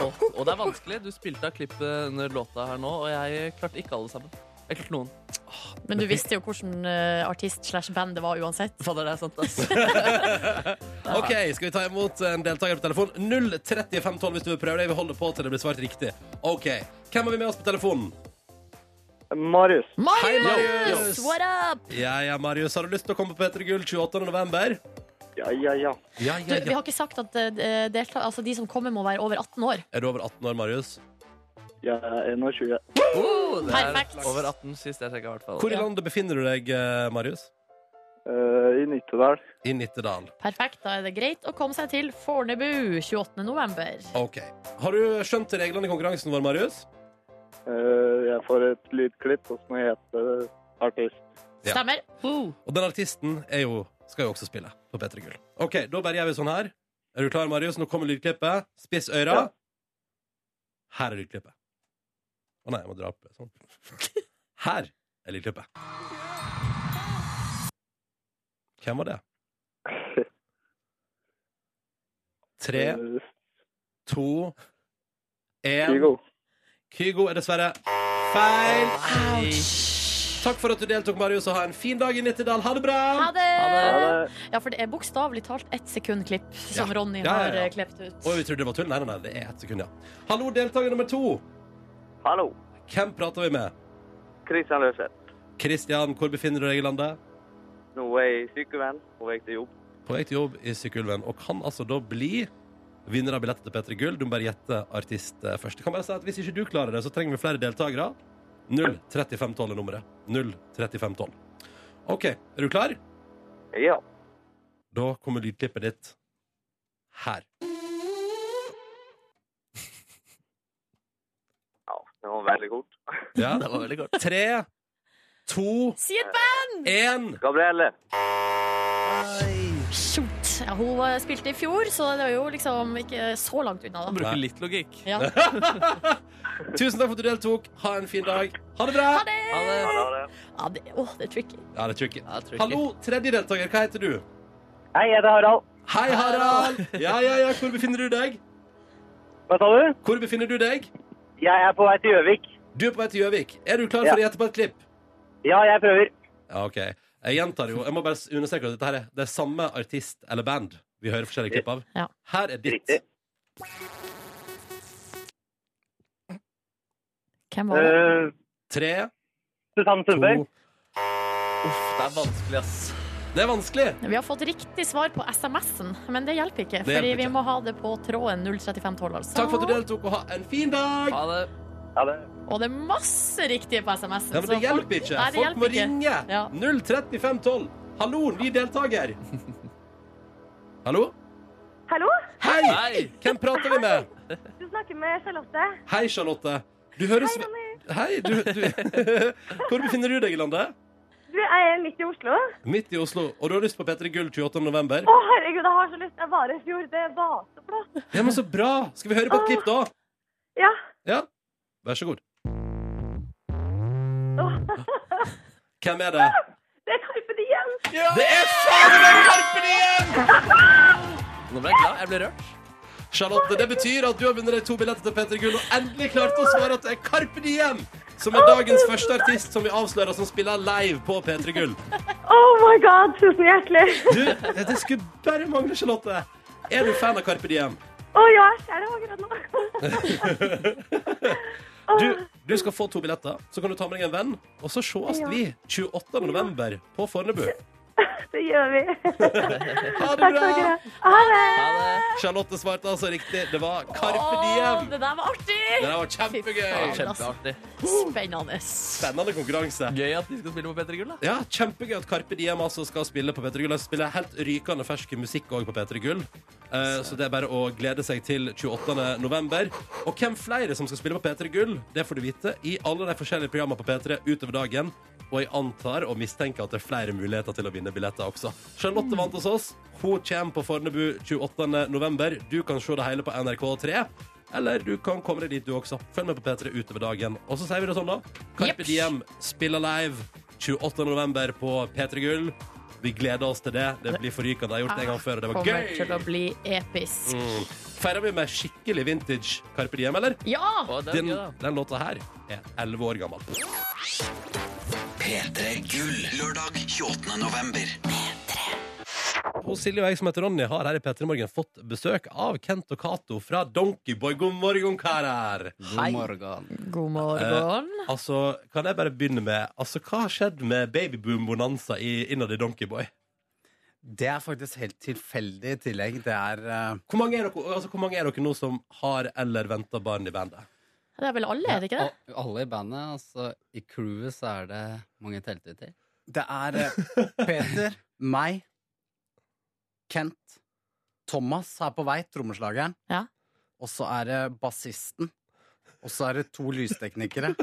C: Og, og det er vanskelig. Du spilte av klippet under låta her nå, og jeg klarte ikke alle sammen. Jeg klarte noen.
D: Men du visste jo hvilken eh, artist slash band det var uansett.
C: Fader, det er sant, ass.
B: OK, skal vi ta imot en deltaker på telefon? 03512 hvis du vil prøve det. Vi holder på til det blir svart riktig. OK. Hvem har vi med oss på telefonen?
H: Marius.
D: Marius!
B: Marius!
D: What up?
B: Ja, ja, Marius, har du lyst til å komme på P3 Gull 28. november?
H: Ja, ja, ja.
B: Ja,
D: Du, vi har ikke sagt at eh, delta, altså, de som kommer, må være over 18 år.
B: Er du over 18 år, Marius?
H: Jeg er 21.
C: Oh, det er
D: Perfekt.
C: over 18 sist jeg sjekka, i hvert fall.
B: Hvor i landet befinner du deg, eh, Marius?
H: eh, I Nittedal.
B: I Nittedal.
D: Perfekt, da er det greit å komme seg til Fornebu 28. november.
B: Ok. Har du skjønt reglene i konkurransen vår, Marius?
H: Eh, jeg får et lydklipp, og så må jeg hete artist.
B: Ja.
D: Stemmer.
B: Og den artisten er jo, skal jo også spille på P3 Gull. Ok, da bare gjør vi sånn her. Er du klar, Marius? Nå kommer lydklippet. Spiss øra.
H: Ja.
B: Her er lydklippet. Å nei, jeg må dra opp sånn. Her er lydklippet. Hvem var det? Tre,
H: Eh,
B: to, én
H: Kygo.
B: Kygo er dessverre feil. Takk for at du deltok, Marius, og ha en fin dag i Nittedal. Ha det bra!
D: Ha det!
H: Ha det.
D: Ja, for det er bokstavelig talt ett sekund-klipp som
B: Ja.
D: Ronny
B: Ja, ja, ja.
D: har eh, klept ut.
B: Oi, vi trodde det var tull. Nei, nei, nei, det er ett sekund, ja. Hallo, deltaker nummer to.
H: Hallo.
B: Hvem prater vi med?
H: Kristian Løseth.
B: Kristian, hvor befinner du deg i landet?
H: Nå er jeg sykevenn på vei til jobb.
B: På vei til jobb i Sykkylven, og kan altså da bli vinner av billetter til P3 Gull. Du må bare gjette artist eh, først. Jeg kan bare si at Hvis ikke du klarer det, så trenger vi flere deltakere. 03512 er nummeret. 03512. OK, er du klar?
H: Ja.
B: Da kommer lydklippet ditt her.
H: ja. Det var veldig kort.
B: Ja.
C: Det var veldig kort.
B: Tre, to,
D: Si et band!
B: én.
H: Gabrielle.
D: Shoot. Ja, hun eh, spilte i fjor, så det er jo liksom ikke så langt unna, da.
C: Bruker litt logikk.
D: Ja.
B: Tusen takk for at du deltok. Ha en fin dag. Ha det bra.
D: Ha det!
C: Ha det.
H: Ha det.
D: Ja, det, åh, det er tricky.
B: Ja, det er tricky.
C: Ja, tricky.
B: Hallo, tredje deltaker. Hva heter du?
H: Hei, jeg heter Harald.
B: Hei, Harald. Ja, ja, ja. Hvor befinner du deg?
H: Hva sa du?
B: Hvor befinner du deg?
H: Jeg er på vei til Gjøvik.
B: Du er på vei til Gjøvik. Er du klar for å gjette på et klipp?
H: Ja, jeg prøver.
B: Ja, OK. Jeg gjentar jo. Jeg må bare understreke at dette her er det er samme artist eller band vi hører forskjellige klipp av.
D: Ja.
B: Her er ditt.
H: Riktig.
D: Hvem var det?
H: Uh,
B: Tre,
H: Susanne
B: to
H: Sundberg.
C: Uff, det er vanskelig, ass.
B: Det er vanskelig.
D: Vi har fått riktig svar på SMS-en, men det hjelper ikke.
B: Det hjelper
D: fordi vi
B: ikke.
D: må ha det på tråden 03512, altså.
B: Takk for at du deltok, og ha en fin dag.
C: Ha det.
H: Ja, det.
D: Og det er masse riktige på SMS-en.
B: Ja, men det
D: så
B: hjelper ikke.
D: Nei, det
B: Folk må
D: hjelper ikke.
B: ringe.
D: Ja.
B: 03512. Hallo, ny deltaker. Hallo?
I: Hallo,
B: Hei!
C: Hei!
B: Hvem prater vi med?
I: du snakker med Charlotte.
B: Hei, Charlotte. Du høres Hei, du, du... Hvor befinner du deg i landet?
I: Du du? Jeg er midt i Oslo.
B: Midt i Oslo. Og du har lyst på P3 Gull 28. november?
I: Å, herregud, jeg har så lyst. Jeg var i fjor. Det var så bra.
B: Ja, men så bra! Skal vi høre på et klipp, da?
I: Ja.
B: Ja, Vær så god.
I: Åh.
B: Hvem er det?
I: Det er Carpe Diem.
B: Det er fader meg Karpe Diem!
C: Nå ble jeg glad. Jeg ble rørt.
B: Charlotte, det betyr at du har vunnet deg to billetter til P3 Gull og endelig klarte å svare at det er Karpe Diem som er dagens første artist som vi avslører som spiller live på P3 Gull.
I: Oh my god, tusen hjertelig.
B: Du, det skulle bare mangle, Charlotte. Er du fan av Carpe Diem?
I: Å ja, jeg ser det akkurat nå.
B: Du, du skal få to billetter, så kan du ta med deg en venn. Og så sees
I: Ja.
B: vi 28. november på Fornebu.
I: Det gjør vi.
B: Ha det
I: Takk
B: bra!
I: skal dere ha. Ha det.
B: Charlotte svarte altså riktig. Det var Carpe
D: Åh,
B: Diem.
D: det der var artig!
B: Det der var
D: Fy
B: kjempegøy.
D: faen.
C: Kjempeartig.
D: Spennende.
B: Spennende konkurranse.
C: Gøy at de skal spille på P3 Gull, da.
B: Ja, Kjempegøy at Carpe Diem altså skal spille på P3 Gull. De spiller helt rykende fersk musikk også på P3 Gull. Eh, så det er bare å glede seg til 28. november. Og hvem flere som skal spille på P3 Gull, det får du vite i alle de forskjellige programmene på P3 utover dagen. Og jeg antar og mistenker at det er flere muligheter til å vinne billetter også. Charlotte vant hos oss. Hun kommer på Fornebu 28. november. Du kan se det hele på NRK3. Eller du kan komme deg dit, du også. Følg med på P3 utover dagen. Og så sier vi det sånn, da. Carpe
D: Jepp.
B: Diem spiller live 28. november på P3 Gull. Vi gleder oss til det. Det blir forrykende. Jeg har gjort det en gang før, og det var
D: Ah, Kommer til å
B: gøy.
D: bli episk.
B: Mm. Feirer vi med skikkelig vintage Carpe Diem, eller?
D: Ja!
C: Å, det er
B: Den,
C: gøy, da.
B: den låta her er 11 år gammel. Og Silje og jeg som heter Ronny har her i P3 Morgen fått besøk av Kent og Cato fra Donkeyboy. God morgen, karer!
C: Hei.
D: God morgen.
B: Altså, kan jeg bare begynne med Altså, hva har skjedd med babyboom-bonanza i- innad i Donkeyboy?
J: Det er faktisk helt tilfeldig i tillegg. Det er eh,
B: Hvor mange er dere, altså, hvor mange er dere nå som har eller venter barn i bandet?
D: Det er vel alle, er det ikke det?
J: og alle i bandet. Altså, i crewet så er det mange telte til. Det er eh, Peter, meg, Kent, Thomas er på vei, trommeslageren.
D: Ja.
J: Og så er det bassisten. Og så er det to lysteknikere.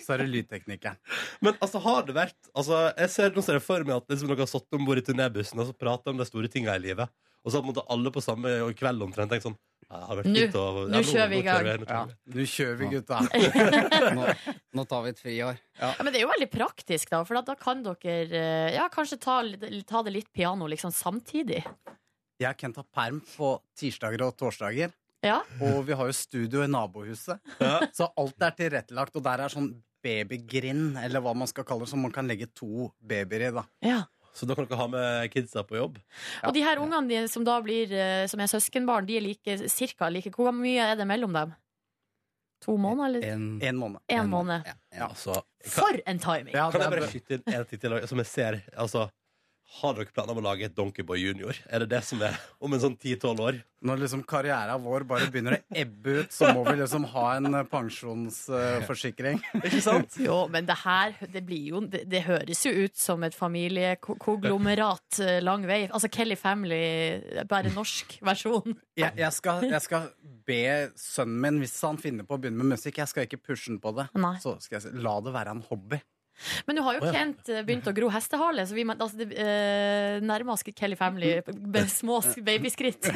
J: Så er det lydteknikeren.
B: Men altså, har det vært altså, jeg ser, Nå ser jeg for meg at liksom, dere har satt om bord i turnébussen og så pratet om de store tinga i livet. Og så har på en måte alle på samme kveld omtrent tenkt sånn ja, det har vært
D: Nå-
B: fint å-
D: nå kjører vi i gang.
B: nå kjører vi.
J: Nå kjører vi, gutta.
K: Nå, nå tar vi et friår.
D: Ja, men det er jo veldig praktisk, da. For at da kan dere eh, ja, kanskje ta, litt- ta det litt piano liksom samtidig.
J: Jeg og Kent har perm på tirsdager og torsdager.
D: Ja.
J: Og vi har jo studio i nabohuset. Så alt er tilrettelagt, og der er sånn babygrind, eller hva man skal kalle det, som man kan legge to babyer i, da.
D: ja.
B: Så da kan dere ha med kidsa på jobb.
D: Og de her ungene de, som da blir eh, Som er søskenbarn, de er like, cirka like Hvor mye er det mellom dem? To måneder, eller?
K: En,
J: En måned.
D: En måned.
J: Ja.
B: Altså, kan,
D: For en timing!
J: Ja,
B: kan jeg
J: det er
B: bare
J: bra.
B: skyte inn en ting til? Som jeg ser altså, Har dere planer om å lage et Donkeyboy junior? Er det det som er om en sånn 10-12 år?
J: Når liksom karrieren vår bare begynner å ebbe ut, så må vi liksom ha en pensjonsforsikring.
B: Ikke sant?
D: Jo, men det her det blir jo Det, det høres jo ut som et familiekonglomerat eh, lang vei. Altså Kelly Family, bare norsk versjon.
J: Jeg, jeg, skal, jeg skal be sønnen min, hvis han finner på å begynne med musikk, jeg skal ikke pushe han på det.
D: Nei.
J: Så skal jeg si, la det være en hobby.
D: Men nå har jo
B: Å, ja.
D: Kent eh, begynt å gro hestehale, så vi må- altså, det, eh, nærmer oss Kelly Family med små sk- babyskritt.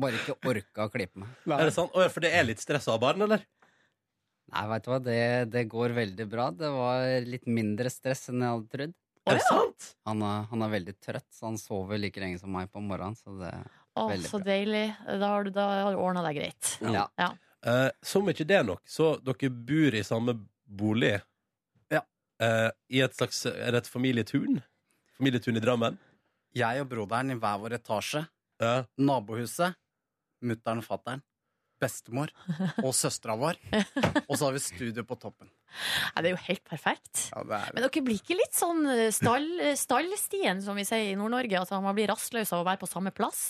K: bare ikke orka å klippe meg.
B: Er det sant? Å, ja, for det er litt stress å ha barn, eller?
K: Nei, veit du hva, det, det går veldig bra. Det var litt mindre stress enn jeg hadde trodd.
B: Er det sant?
K: Han er, han er veldig trøtt, så han sover like lenge som meg på morgenen. Så det,
D: Å,
K: Veldig
D: så deilig. Da har du, da har du ordna deg greit.
K: ja.
B: Eh, som ikke det er nok, så dere bor i samme bolig.
J: Ja.
B: Eh, I et slags Er det et familietun? Familietun i Drammen?
J: Jeg og broderen i hver vår etasje.
B: Ja.
J: nabohuset, mutter'n og fatter'n, bestemor og søstera vår. Og så har vi studio på toppen.
D: Nei, det er jo helt perfekt.
J: Ja, det er
D: Men dere blir ikke litt sånn eh, stall, stallstien, som vi sier i Nord-Norge? At man blir rastløs av å være på samme plass?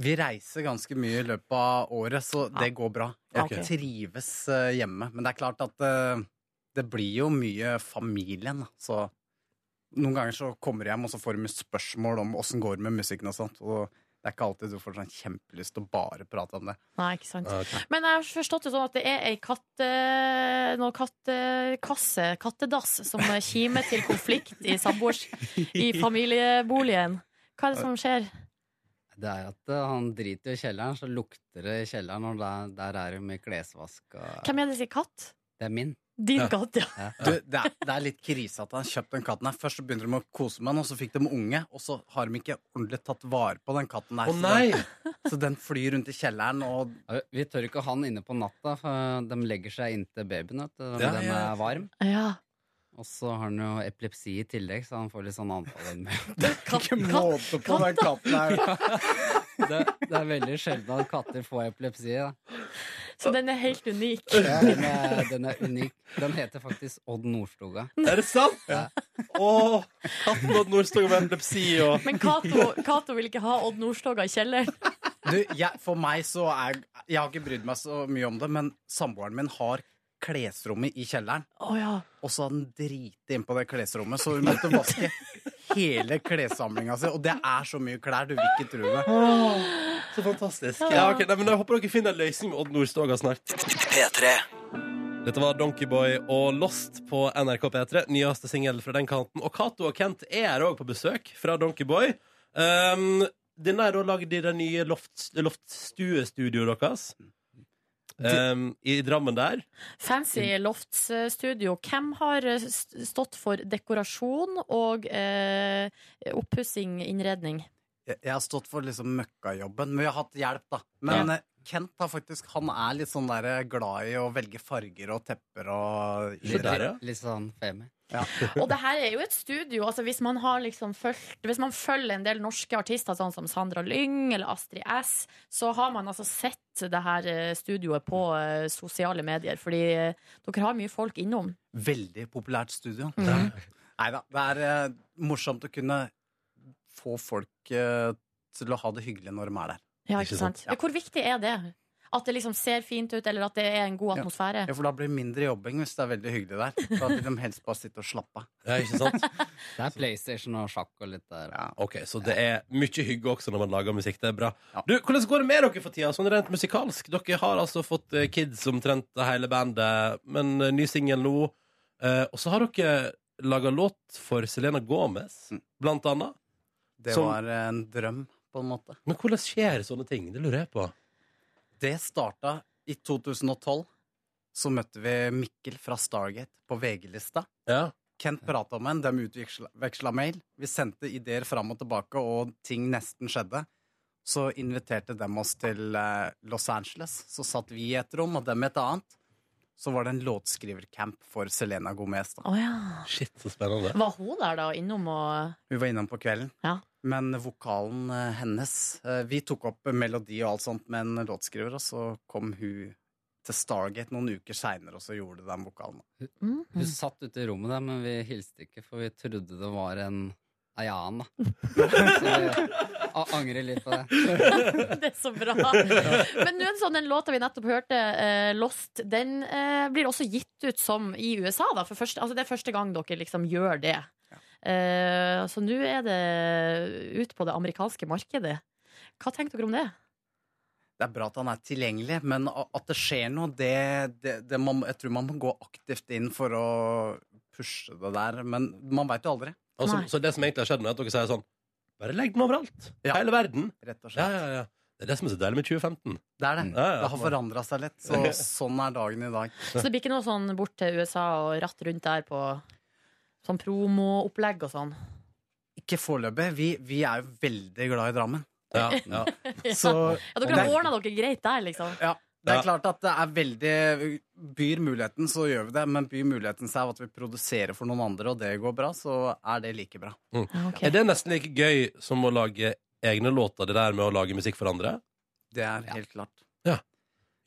J: Vi reiser ganske mye i løpet av året, så det går bra. Jeg
D: Ok.
J: trives eh, hjemme. Men det er klart at eh, det blir jo mye familien, da. Så noen ganger så kommer jeg hjem, og så får de spørsmål om åssen går det med musikken og sånt. Og Det er ikke alltid du får sånn kjempelyst til å bare prate om det.
D: Nei, ikke sant. Men jeg har forstått det sånn at det er ei katte, noe kattekasse, kattedass, som kimer til konflikt i samboers i familieboligen. Hva er det som skjer?
K: Det er at eh, han driter jo i kjelleren, så lukter det i kjelleren, og der, der er det jo mye klesvask og
D: Hvem er det som sier katt?
K: Det er min.
D: Din katt, ja.
J: Du, det, er, det er litt krise at han har kjøpt den katten her. Først så begynte de å kose med den, og så fikk de unge, og så har de ikke ordentlig tatt vare på den katten der.
K: Å,
J: Så, den, så den flyr rundt i kjelleren, og
K: Ja, Vi tør ikke ha han inne på natta, for eh, de legger seg inntil babyen, vet du. når
J: Ja,
K: den
J: ja.
K: er varm.
D: Ja.
K: Og så har han jo epilepsi i tillegg, så han får litt sånn anfall innimellom.
J: Ikke måte på den katten her.
K: Det, det er veldig sjelden at katter får epilepsi. Da.
D: Så den er helt unik.
K: Ja, den, er, den er unik. Den heter faktisk Odd Nordstoga.
B: Er det sant? Åh, katten Odd Nordstoga med epilepsi og
D: Men Cato, Cato vil ikke ha Odd Nordstoga i kjelleren.
J: Du, jeg, for meg så er Jeg har ikke brydd meg så mye om det, men samboeren min har klesrommet i kjelleren.
D: Å ja.
J: Og så hadde den driti inn på det klesrommet, så hun måtte vaske hele klessamlinga si. Og det er så mye klær, du vil ikke tro det.
B: Så fantastisk. Ja, ok, nei, men Jeg håper dere finner en løsning med Odd Nordstoga snart. P3 Dette var Donkeyboy og Lost på NRK P3. Nyeste singel fra den kanten. Og Cato og Kent er her òg på besøk fra Donkeyboy. Um, denne er da lagd i det nye loft, loftstuestudioet deres. Um, I Drammen der.
D: Fancy Lofts eh, studio. Hvem har eh, st- stått for dekorasjon og eh, oppussing, innredning?
J: Jeg, jeg har stått for liksom møkkajobben, men vi har hatt hjelp, da. Men
D: Ja.
J: eh, Kent har faktisk, han er litt sånn der eh, glad i å velge farger og tepper og
K: Litt,
J: innredning.
K: litt sånn femi.
D: Og det her er jo et studio. Altså hvis man har liksom fulgt Hvis man følger en del norske artister, sånn som Sandra Lyng eller Astrid S, så har man altså sett det her eh, studioet på eh, sosiale medier. Fordi eh, dere har mye folk innom.
J: Veldig populært studio.
D: Mhm.
J: Nei da. Det er eh, morsomt å kunne få folk eh, til å ha det hyggelig når de er der.
D: Ja, ikke sant? Hvor viktig er det? At det liksom ser fint ut, eller at det er en god atmosfære?
J: Ja, for da blir det mindre jobbing hvis det er veldig hyggelig der. Da vil de helst bare sitte og slappe av.
K: Det er PlayStation og sjakk og litt der.
B: Ok, Så det er mye hygge også når man lager musikk. Det er bra. Du, Hvordan går det med dere for tida, sånn rent musikalsk? Dere har altså fått eh, kids omtrent hele bandet, men eh, ny singel nå. Eh, og så har dere laga låt for Selena Gomez, blant annet.
J: Det
B: Som-
J: var en drøm, på en måte.
B: Men hvordan skjer sånne ting? Det lurer jeg på.
J: Det starta i 2012. Så møtte vi Mikkel fra Stargate på VG-lista. Kent prata om en, de utveksla mail. Vi sendte ideer fram og tilbake, og ting nesten skjedde. Så inviterte de oss til eh, Los Angeles. Så satt vi i et rom, og dem i et annet. Så var det en låtskrivercamp for Selena Gomez. Da.
D: Å ja.
B: Shit, så spennende.
D: Var hun der da innom og
J: Hun var innom på kvelden. Men vokalen eh, hennes eh, Vi tok opp melodi og alt sånt med en låtskriver, og så kom hun til Stargate noen uker seinere og så gjorde den vokalen.
K: Hun, hun satt ute i rommet der, men vi hilste ikke, for vi trodde det var en ei annen, da. Så vi a- angrer litt på det.
D: Det er så bra. Men nå er det sånn, den låta vi nettopp hørte, eh, Lost, den eh, blir også gitt ut som i USA. Da, for første, altså det er første gang dere liksom gjør det. Eh, så nå er det ut på det amerikanske markedet. Hva tenkte dere om det?
J: Det er bra at han er tilgjengelig, men a- at det skjer noe, det, det, det man, Jeg tror man må gå aktivt inn for å pushe det der, men man veit jo aldri.
B: Altså, så det som egentlig har skjedd, nå er at dere sier sånn Bare legg den overalt. Hele verden.
J: Rett og
B: slett. Ja, ja, ja. Det er det som er så deilig med 2015.
J: Det er det.
B: Ja, ja.
J: Det har forandra seg litt, så sånn er dagen i dag.
D: Så det blir ikke noe sånn bort til USA og ratt rundt der på sånn promoopplegg og sånn?
J: Ikke foreløpig. Vi, vi er jo veldig glad i Drammen.
B: ja.
J: Så,
D: ja, dere har ordna dere greit der, liksom?
J: Ja. Det er klart at det er veldig Byr muligheten, så gjør vi det. Men byr muligheten seg av at vi produserer for noen andre, og det går bra, så er det like bra.
B: Mm. Er det nesten like gøy som å lage egne låter, det der med å lage musikk for andre?
J: Det er helt klart.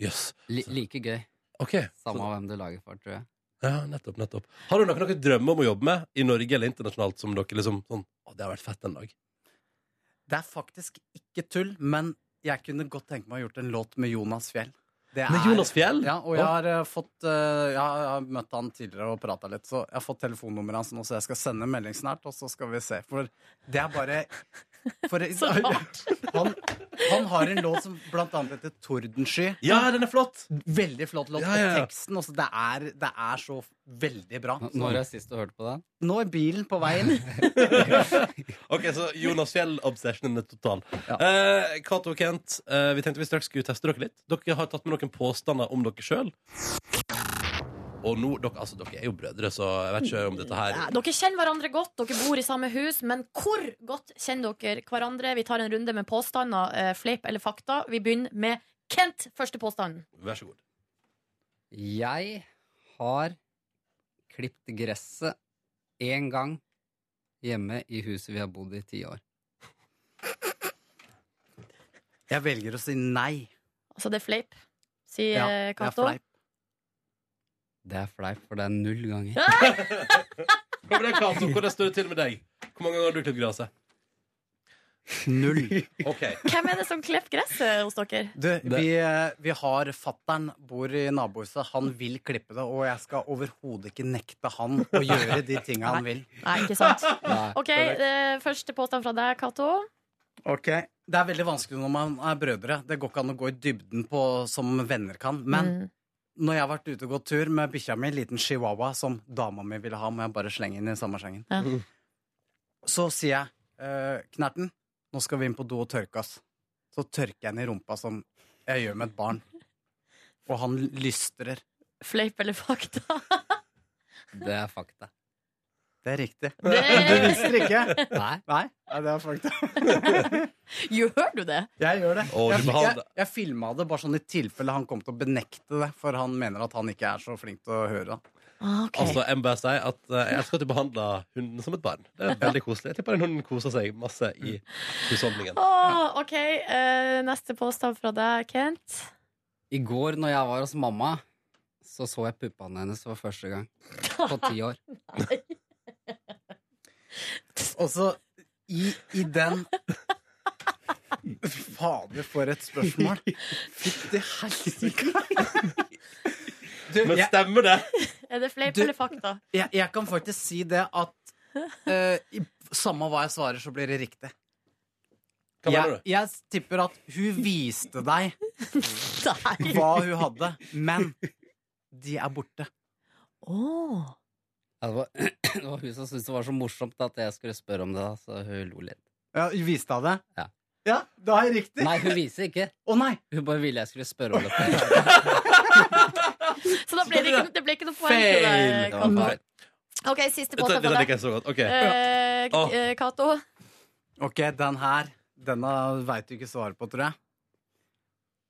B: Jøss.
K: Li, like gøy.
B: Ok.
K: Samme hvem du lager for, tror jeg.
B: Ja, nettopp, nettopp. Har du noen, noen drømmer om å jobbe med i Norge eller internasjonalt som dere liksom sånn Å, det har vært fett en dag.
J: Det er faktisk ikke tull, men jeg kunne godt tenke meg å ha gjort en låt med Jonas Fjell. Det
B: Med Jonas Fjell?
J: Ja, og jeg har, eh, fått, eh, jeg har- jeg har møtt han tidligere og prata litt, så jeg har fått telefonnummeret hans nå, så jeg skal sende en melding snart, og så skal vi se. For det er bare For, han, han har en låt som blant annet heter Tordensky.
B: Ja, den er flott!
J: Veldig flott låt.
B: Ja, ja, ja.
J: Og teksten også. Det er, det er så veldig bra.
K: Når er sist du hørte på den?
J: Nå er bilen på veien.
B: Ok, så Jonas Fjell-obsessionen er total. Eh, Cato og Kent, eh, vi tenkte vi straks skulle teste dere litt. Dere har tatt med noen påstander om dere sjøl. Og nå, dere, altså, dere er jo brødre, så jeg vet ikke om dette her
D: Ja, Dere kjenner hverandre godt, dere bor i samme hus, men hvor godt kjenner dere hverandre? Vi tar en runde med påstander, eh, fleip eller fakta. Vi begynner med Kent, første påstanden.
B: Vær så god.
K: Jeg har klippet gresset én gang hjemme i huset vi har bodd i ti år.
J: Jeg velger å si nei.
D: Altså, det er fleip, sier
K: Ja,
D: eh,
K: det er
D: Cato.
K: fleip. Det er fleip, for det er null ganger.
B: Hva med deg, Cato? Hvordan står det til med deg? Hvor mange ganger har du klippet gresset?
J: Null.
B: Ok.
D: Hvem er det som klipper gresset hos dere?
J: Du, vi, eh, vi har fattern bor i nabohuset. Han vil klippe det, og jeg skal overhodet ikke nekte han å gjøre de tinga han vil.
D: Nei, ikke sant?
J: Nei,
D: Ok,
J: korrekt.
D: eh, Første påstand fra deg, Cato.
J: Ok. Det er veldig vanskelig når man er brødre. Det går ikke an å gå i dybden på som venner kan. Men
D: Mm.
J: når jeg har vært ute og gått tur med bikkja mi, en liten chihuahua, som dama mi ville ha, må jeg bare slenge inn i samme slengen,
D: Ja.
J: så sier jeg eh, Knerten, nå skal vi inn på do og tørke oss. Så tørker jeg henne i rumpa som jeg gjør med et barn. Og han lystrer.
D: Fleip eller fakta?
K: Det er fakta.
J: Det er riktig.
D: Det-
J: Du visste det ikke?
K: Nei.
J: Nei, Nei, det er fakta.
D: Gjør du det?
J: Jeg gjør det.
B: Å,
J: jeg
B: du
J: jeg,
B: behandler-
J: jeg filma det bare sånn i tilfelle han kom til å benekte det, for han mener at han ikke er så flink til å høre.
B: Altså, jeg må bare si at eh, jeg elsker at du behandler hunden som et barn. Det er veldig koselig. Jeg tipper den hunden koser seg masse i husholdningen.
D: Åh, ok, eh, Neste påstand fra deg, Kent.
K: I går når jeg var hos mamma, så så jeg puppene hennes for første gang. På ti år.
J: Og så i, i den Fader, for et spørsmål! Fytti helsike!
B: Men stemmer det?
D: Er det fleip
J: Du-
D: eller fakta?
J: Jeg, jeg kan faktisk si det at eh, i, samme hva jeg svarer, så blir det riktig.
B: Hva mener
J: jeg, jeg tipper at hun viste deg hva hun hadde, men de er borte.
K: Ja, det, var, det var hun som syntes det var så morsomt at jeg skulle spørre om det, da, så hun lo litt.
J: Ja, hun viste deg det?
K: Ja.
J: Ja, da er jeg riktig.
K: Nei, hun viser ikke.
J: Å nei
K: Hun bare ville jeg skulle spørre om det.
D: Så da ble det ikke, det ble ikke noe poeng til
B: Feil!
D: deg.
B: Det var feil.
D: OK, siste
B: Dette-
D: påstand
B: dette
D: fra
B: liker
D: deg.
B: jeg så godt. Ok.
D: Eh,
B: Ja.
D: eh, Cato.
J: Ok, den her Denne vet du ikke svaret på, tror jeg.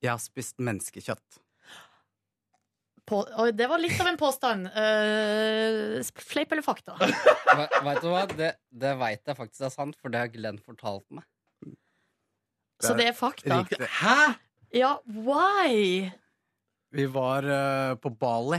J: Jeg har spist menneskekjøtt.
D: På, oi, det var litt av en påstand. Eh, sp- fleip eller fakta?
K: Ve- Vet du hva? Det, det veit jeg faktisk er sant, for det har Glenn fortalt meg.
D: Så det er fakta?
J: Riktig. Hæ?!
D: Ja, why?
J: Vi var eh, på Bali.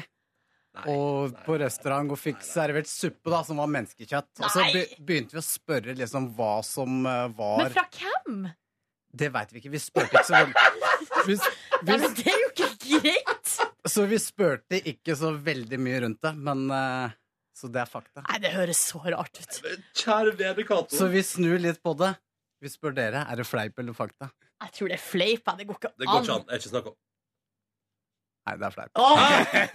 J: og på restaurant og fikk servert suppe da, som var menneskekjøtt. Og så
D: Nei!
J: be begynte vi å spørre liksom hva som eh,
D: Men
J: var
D: fra hvem?
J: Det veit vi ikke. Vi spurte ikke så veldig vi,
D: Nei, men det er jo ikke greit!
J: Så vi spurte ikke så veldig mye rundt det, men eh, Så det er fakta.
D: Nei, det høres så rart ut.
B: Eh, Kjære vene Cato.
J: Så vi snur litt på det. Vi spør dere er det fleip eller fakta.
D: Jeg tror det er fleip. jeg. Det går ikke an.
B: Det går ikke an. Det er ikke snakk om.
J: Nei, det er fleip.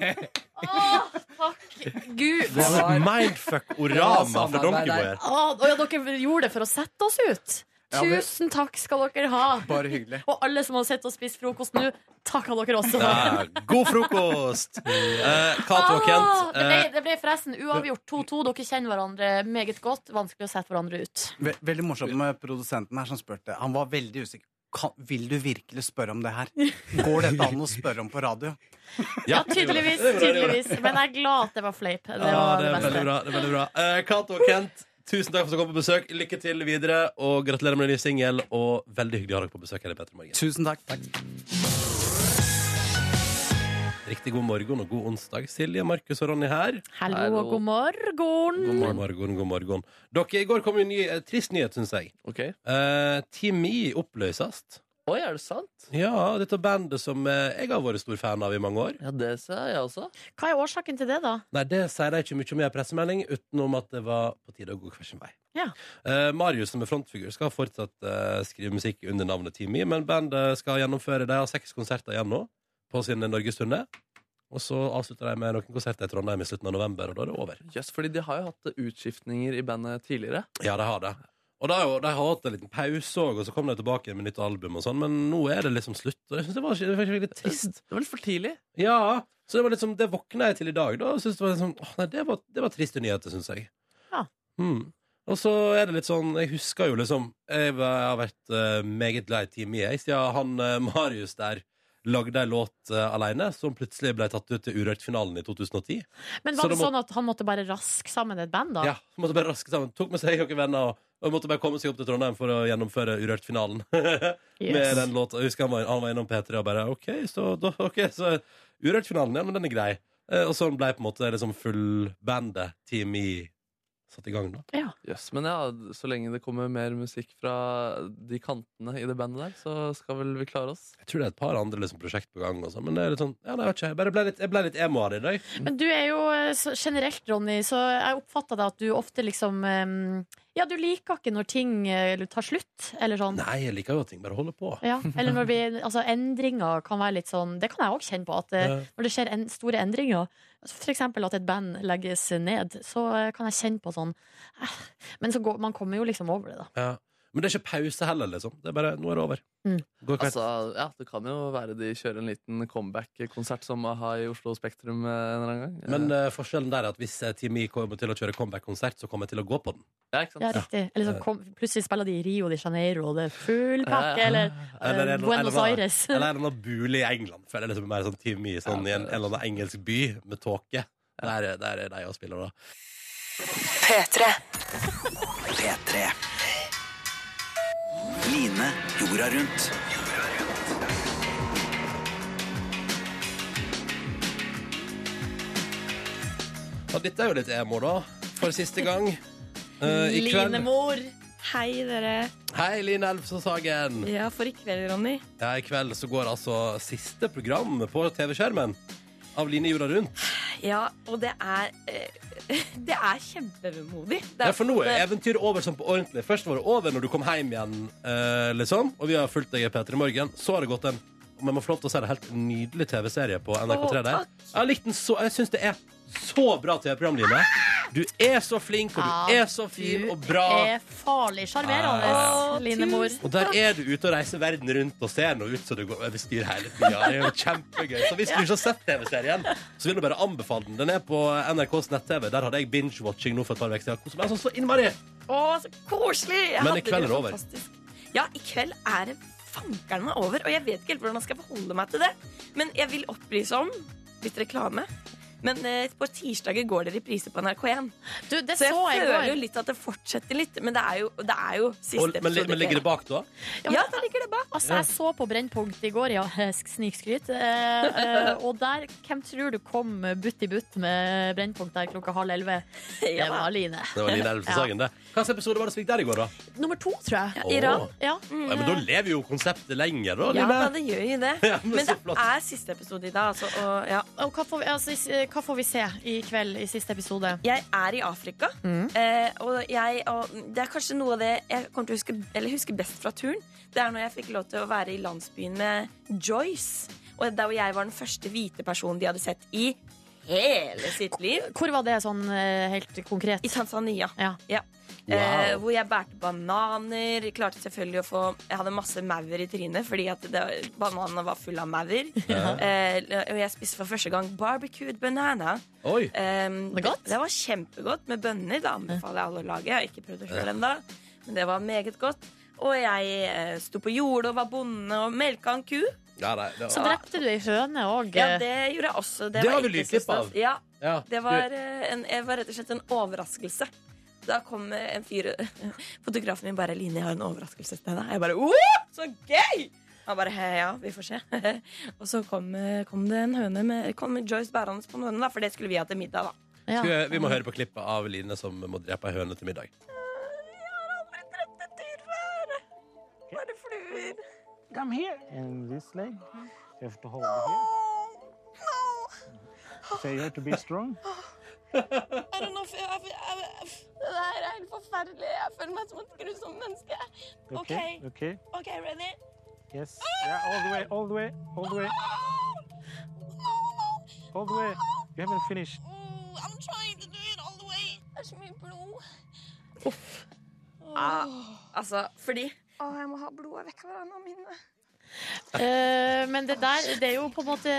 D: Åh, takk Gud.
B: Det var et mindfuck orama fra Donkeyboy her.
D: Åh, åja, dere gjorde det for å sette oss ut.
B: Ja, vi-
D: Tusen takk skal dere ha.
J: Bare hyggelig.
D: Og alle som har sett og spist frokost nå, takk av dere også.
B: Ja, god frokost! Eh, Cato og
D: Åh,
B: Kent.
D: Ah, det, ble,
B: eh,
D: det ble forresten uavgjort 2-2. Dere kjenner hverandre meget godt. Vanskelig å sette hverandre ut.
J: Ve veldig morsomt med produsenten her som spurte. Han var veldig usikker. Kan, vil du virkelig spørre om det her? Går dette an å spørre om på radio?
D: Ja, tydeligvis. tydeligvis Men jeg er glad at det var fleip. Det
B: ja,
D: var
B: det
D: det
B: er veldig
D: beste.
B: bra. Det er veldig bra. Eh, Cato og Kent, tusen takk for at dere kom på besøk. Lykke til videre, og gratulerer med ny singel. Og veldig hyggelig å ha dere på besøk her i Petter Morgen.
J: Tusen takk.
B: Riktig god morgen og god onsdag. Silje, Markus og Ronny her.
D: Hallo og god morgen.
B: God morgen, god morgen. Dere, I går kom jo en ny, eh, trist nyhet, syns jeg.
C: Ok.
B: Eh, Timi oppløses.
C: Oi, er det sant?
B: Ja, dette bandet som eh, jeg har vært stor fan av i mange år.
C: Ja, det ser jeg også.
D: Hva er årsaken til det, da?
B: Nei, det sier de ikke mye om i en pressemelding, utenom at det var på tide å gå hver sin vei.
D: Ja.
B: Eh, Marius, som er frontfigur, skal fortsatt eh, skrive musikk under navnet Timmy, men bandet skal gjennomføre De har seks konserter igjen nå på sin norgesturné. Og så avslutter de med noen konserter i Trondheim i slutten av november, og da er det over.
C: Yes, fordi de har jo hatt utskiftninger i bandet tidligere.
B: Ja, de har det. Og de har, jo- de har hatt en liten pause òg, og så kom de tilbake med nytt album, og sånn, men nå er det liksom slutt. Og jeg synes det var, det var litt trist.
C: Det var litt for tidlig.
B: Ja, så det var liksom, det våkna jeg til i dag, da, og syntes det var liksom, åh, nei, det var, det var triste nyheter, syns jeg.
D: Ja.
B: Mm. Og så er det litt sånn, jeg husker jo liksom Jeg var- jeg har vært eh, meget lei Timmy, jeg, siden han eh, Marius der lagde ei låt uh, aleine som plutselig ble tatt ut til Urørt-finalen i 2010.
D: Men
B: Så
D: var det
B: da må-
D: sånn at han måtte bare raske sammen et band, da?
B: Ja, så måtte bare raske sammen. Tok med seg noen venner og, og måtte bare komme seg opp til Trondheim for å gjennomføre Urørt-finalen. Med
D: Yes.
B: den låta. Jeg husker han var, han var innom P3 og bare OK, så, da- ok, så Urørt-finalen, ja, men den er grei. Eh, og sånn ble på en måte liksom fullbandet Team I satt i gang, da.
C: Yes, men ja, så lenge det kommer mer musikk fra de kantene i det bandet der, så skal vel vi klare oss.
B: Jeg tror det er et par andre liksom, prosjekt på gang, og sånn, men det er litt sånn Ja, nei, jeg vet ikke. Jeg bare ble litt, jeg ble litt emo av det i dag.
D: Men du er jo eh, så- generelt, Ronny, så jeg oppfatta det at du ofte liksom eh, Ja, du liker ikke når ting eh, tar slutt, eller sånn.
B: Nei, jeg liker jo at ting bare holder på.
D: Ja, eller når vi, altså Endringer kan være litt sånn Det kan jeg òg kjenne på. At eh,
B: Ja.
D: Når det skjer en, store endringer, f.eks. at et band legges ned, så eh, kan jeg kjenne på sånn eh, Men så går, man kommer jo liksom over det, da.
B: Ja. Men det er ikke pause heller, liksom. Det er bare Nå er det over.
D: Mm.
B: Går kveld.
C: Altså, ja, Det kan jo være de kjører en liten comeback-konsert som a-ha i Oslo Spektrum eh, en eller annen gang.
B: Men eh, forskjellen der er at hvis eh, Team I kommer til å kjøre comeback-konsert, så kommer jeg til å gå på den.
C: Ja, ikke
D: Ja, riktig. Eller så kom, plutselig spiller de i Rio de Janeiro, og det er full pakke,
B: Ja.
D: eller,
B: Eller
D: eh,
B: en-
D: Buenos
B: eller-
D: Aires.
B: Eller en eller annen bule i England. Føler jeg liksom mer sånn Team I sånn, i en, en eller annen engelsk by med tåke. Der, der er de og spiller, da.
L: P3. P3. Line jorda rundt.
B: Og dette er jo litt emo, da. For siste gang. eh, i kveld.
M: Linemor. Hei, dere.
B: Hei, Line Elfsås Hagen.
M: Ja, for i kveld, Ronny.
B: Ja, I kveld så går altså siste program på TV-skjermen av Line jorda rundt.
M: Ja, og det er eh, Det er kjempevemodig. Det
B: Ja, for nå er eventyret over sånn på ordentlig. Først var det over når du kom hjem igjen, eh, liksom. Og vi har fulgt deg i P3 Morgen. Så har det gått en om jeg må få lov til å si det, helt nydelig TV-serie på NRK3
M: Å,
B: der.
M: takk.
B: Jeg har likt den så Jeg syns det er så bra TV-program, Line. Du er så flink, og du
D: Ja,
B: er så fin og
D: Det
B: bra.
D: er farlig sjarmerende,
B: Ja.
D: Linemor.
B: Og der er du ute og reiser verden rundt og ser noe ut som du går over styr hele tida. Det er jo kjempegøy. Så hvis du ikke har sett TV-serien, så vil jeg bare anbefale den. Den er på NRKs nett-TV. Der hadde jeg binge-watching nå for et par uker siden. Koser meg sånn så innmari.
M: Å, så koselig! Jeg
B: Men i
M: hadde
B: kveld er det
M: så
B: over.
M: fantastisk. Ja, i kveld er det fankerne over. Og jeg vet ikke helt hvordan jeg skal forholde meg til det. Men jeg vil opplyse om litt reklame. Men eh, på tirsdager går det reprise på NRK1.
D: det
M: så jeg
D: så jeg i
M: føler
D: går.
M: jo litt at det fortsetter litt. Men det er jo, det er jo siste
B: Og, men,
M: episode.
B: men ligger det bak da?
M: Ja, ja, da ligger det bak.
D: Altså, jeg så på Brennpunkt i går, ja, snikskryt. Eh, eh, og der, hvem tror du kom butt i butt med Brennpunkt der klokka halv elleve? Det var Line.
B: Det var Line Elvesen Sagen, det. Hva slags episode var det som gikk der i går, da?
D: Ja. Nummer to, tror jeg.
B: Ja, Iran. Åh.
D: Ja. Mm.
B: Ja, men da lever jo konseptet lenger, da,
M: Ja,
B: Line.
M: det gjør jo det.
B: Ja, men
M: men
B: så
M: det er siste episode i dag, altså. Og, ja.
D: Og hva får, vi, altså, i- hva får vi se i kveld i siste episode?
M: Jeg er i Afrika,
I: Mm.
M: eh, og, jeg, og det er kanskje noe av det jeg kommer til å huske, eller huske best fra turen. Det er når jeg fikk lov til å være i landsbyen med Joyce. Og der hvor jeg var den første hvite personen de hadde sett i hele sitt liv.
D: Hvor var det sånn eh, helt konkret?
M: I Tanzania.
D: Ja.
M: Ja.
D: Wow.
M: Eh, hvor jeg bærte bananer. Klarte selvfølgelig å få Jeg hadde masse maur i trynet fordi at det, bananene var fulle av maur.
I: Ja.
M: Eh, og jeg spiste for første gang barbecued banana.
B: Oi.
M: Ehm,
I: Det er godt.
M: Det, det var kjempegodt med bønner. Det anbefaler jeg alle å lage. Jeg har ikke prøvd det sjøl
I: Ja.
M: ennå, men det var meget godt. Og jeg eh, sto på jordet og var bonde og melka en ku.
B: Ja, nei, det var...
D: Så drepte du ei høne òg.
M: Ja, det gjorde jeg også. Det,
B: Det
M: var
B: har vi
M: ikke
B: lydklipp
M: så stas.
B: av.
M: Ja,
B: Ja,
M: det var,
B: du-
M: eh, en, jeg var rett og slett en overraskelse. Da kom eh, en fyr Fotografen min bare 'Line, jeg har en overraskelse til deg.' Jeg bare 'Å, så gøy!' Han bare «He, 'Ja, vi får se'. og så kom, eh, kom det en høne med, kom Joyce bærende på en høne, da, for det skulle vi ha til middag. da
B: Skal vi, vi må høre på klippet av Line som må drepe ei høne til middag.
M: Bare fluer.
N: Come here. And this leg. You have to hold it here. So you have to be strong.
M: I don't know if jeg, jeg, jeg, jeg, Det her er helt forferdelig. Jeg føler meg som et grusomt menneske. OK,
N: Okay. Okay.
M: OK, ready?
N: Yes. Yeah, all the way, all the way, all the way. All the way. You haven't finished.
M: Oh, I'm trying to do it all the way. Det er så mye blod. altså, fordi Å, jeg må ha blodet vekk av hendene mine.
D: Eh, men det der, det er jo på en måte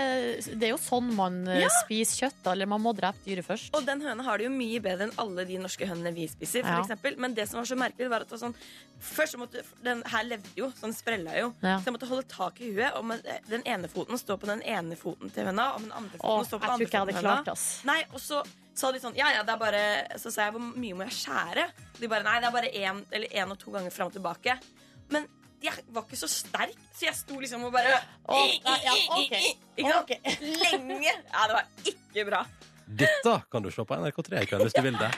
D: Det er jo sånn man eh,
M: Ja.
D: spiser kjøtt. da, Eller man må drepe dyret først.
M: Og den høna har det jo mye bedre enn alle de norske hønene vi spiser. For
D: Ja.
M: eksempel. Men det som var så merkelig, var at det var sånn Først så måtte Den her levde jo, så den sprella jo.
D: Ja.
M: Så jeg måtte holde tak i huet, og med, den ene foten står på den ene foten til høna, og den andre foten
D: Åh,
M: står på
D: jeg
M: den andre
D: tror ikke
M: foten
D: jeg hadde
M: til høna.
D: klart, ass.
M: Nei, og så sa de sånn Ja, ja, det er bare Så sa jeg hvor mye må jeg skjære? De bare Nei, det er bare én eller én og to ganger fram og tilbake. Men jeg var ikke så sterk, så jeg sto liksom og bare
D: Åh, nei, ja, ok.
M: Ikke sant? Lenge. Ja, det var ikke bra.
B: Dette kan du se på NRK3 i kveld hvis du vil det.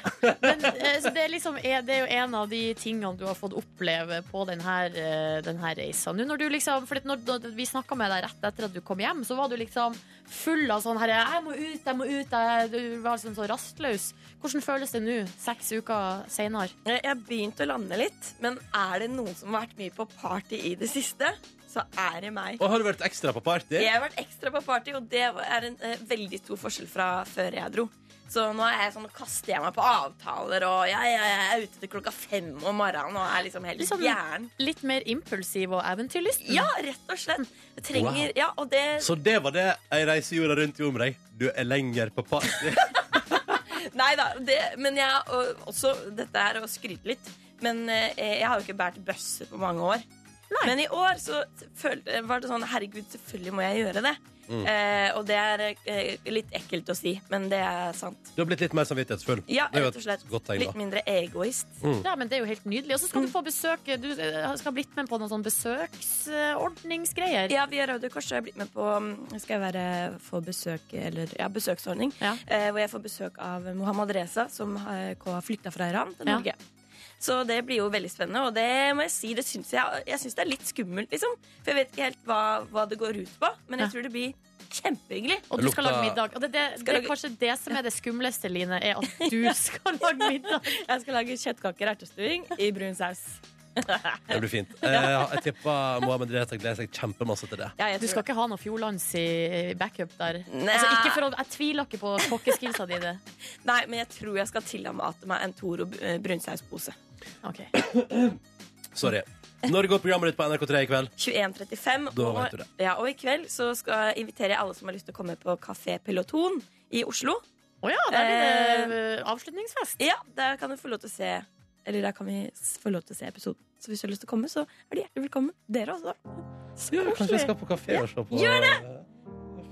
D: Men eh, så det, er liksom, er- det er jo en av de tingene du har fått oppleve på eh, denne reisa. Nå når du liksom, for at når, når vi snakka med deg rett etter at du kom hjem, så var du liksom full av sånn herre Jeg må ut, jeg må ut. Jeg, du var liksom så rastløs. Hvordan føles det nå, seks uker seinere?
M: Jeg jeg har begynt å lande litt, men er det noen som har vært mye på party i det siste, så er det meg.
B: Og har du vært ekstra på party?
M: Jeg har vært ekstra på party, og det er en eh, veldig stor forskjell fra før jeg dro. Så nå er jeg sånn, nå kaster jeg meg på avtaler, og jeg, jeg, jeg er ute til klokka fem om morgenen og er liksom helt
D: Litt sånn-
M: gæren.
B: Mm.
D: Litt mer impulsiv og eventyrlysten?
M: Ja, rett og slett. Jeg trenger
B: Wow.
M: Ja, og det
B: Så det var det ei reise jorda rundt gjorde med deg. Du er lenger på party.
M: Nei da, det- men jeg og, også Dette er å skryte litt, men eh, jeg har jo ikke båret bøsse på mange år. Men i år så følte, var det sånn Herregud, selvfølgelig må jeg gjøre det.
B: Mm.
M: Eh, og det er eh, litt ekkelt å si, men det er sant.
B: Du har blitt litt mer samvittighetsfull.
M: Ja,
B: Det er jo
M: rett
B: et
M: og slett.
B: Godt tegn,
M: Litt
B: da.
M: mindre egoist.
B: Mm.
D: Ja, men Det er jo helt nydelig. Og så
M: Mm.
D: skal du få besøk Du eh, skal ha blitt med på noen sånn besøksordningsgreier.
M: Ja, via Røde Kors har jeg blitt med på mm, Skal jeg være få besøk Eller ja, besøksordning. Eh, hvor jeg får besøk av Mohammed Reza, som har har flykta fra Iran til
D: Ja.
M: Norge. Så det blir jo veldig spennende, og det må jeg si, det syns jeg, jeg synes det er litt skummelt, liksom. For jeg vet ikke helt hva, hva det går ut på, men jeg tror det blir kjempehyggelig.
D: Og du skal lage middag. Og det, det, det
M: Skal
D: er
M: lage-
D: kanskje det som er det skumleste, Line, er at du skal lage middag.
M: Jeg skal lage kjøttkaker og ertestuing i brun saus.
B: Det blir fint. Eh, jeg tipper Mohammed Reza gleder seg kjempemasse til det.
D: du skal ikke ha noe Fjordlands i backup der.
M: Nei.
D: Altså, ikke for å, jeg tviler ikke på kokkeskillsa dine.
M: Nei, men jeg tror jeg skal tilmate meg en Toro eh, brunsauspose.
D: Okay.
B: Sorry. Når går programmet ditt på NRK3 i kveld?
M: 21.35.
B: Da
M: og-
B: vet du det.
M: Ja, og i kveld så skal jeg invitere alle som har lyst til å komme på Kafé Peloton i Oslo.
D: Å ja, der blir det eh, avslutningsfest.
M: Eh. Ja, der kan du få lov til å se Eller der kan vi s- få lov til å se episoden. Så hvis du har lyst til å komme, så er du hjertelig velkommen. Dere også. Så
B: Ja, kanskje
M: koselig.
B: jeg skal på kafé og se på
M: Gjør det!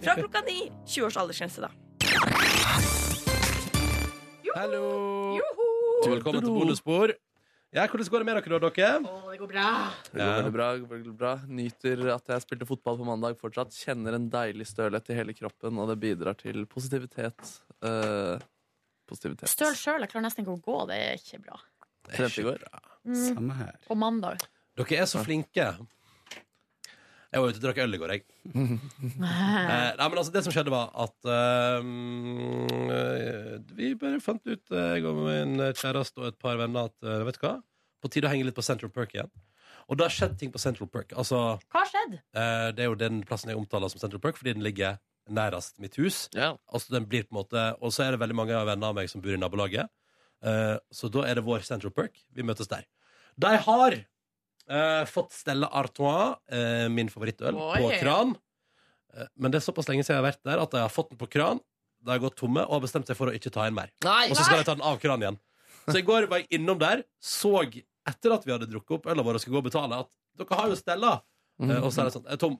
M: Fra klokka ni. 20 års aldersgrense, da.
B: Hallo! Og velkommen til bonusbord. Ja, hvordan går det med dere, da, dere?
D: det går bra.
C: Det går veldig bra, går veldig bra. Nyter at jeg spilte fotball på mandag fortsatt. Kjenner en deilig stølhet i hele kroppen, og det bidrar til positivitet. Eh, positivitet.
D: Støl sjøl, jeg klarer nesten ikke å gå. Det er ikke bra.
C: Trente i går.
D: Mm. På mandag.
B: Dere er så flinke. Jeg var ute og drakk øl i går, jeg. Eh, nei, men altså, det som skjedde, var at eh, mm, eh, Vi bare fant ut, eh, jeg og min kjæreste og et par venner, at eh, vet du hva? På tide å henge litt på Central Perk igjen. Og det har skjedd ting på Central Perk. Altså,
D: Hva har skjedd?
B: eh, det er jo den plassen jeg omtaler som Central Perk, fordi den ligger nærest mitt hus. Altså, den blir på en måte Og så er det veldig mange av venner av meg som bor i nabolaget. Eh, så da er det vår Central Perk. Vi møtes der. De har eh, fått Stella Artois, eh, min favorittøl, på
O: Oi.
B: kran. Eh, Men det er såpass lenge siden jeg har vært der at jeg har fått den på kran. De har gått tomme og har bestemt seg for å ikke ta inn mer.
O: Nei.
B: Og så skal de ta den av kranen igjen. Så i går var jeg innom der, så etter at vi hadde drukket opp øla vår og skulle gå og betale, at dere har jo Stella.
C: Mhm.
B: Eh, Og så er det sånn, er tom.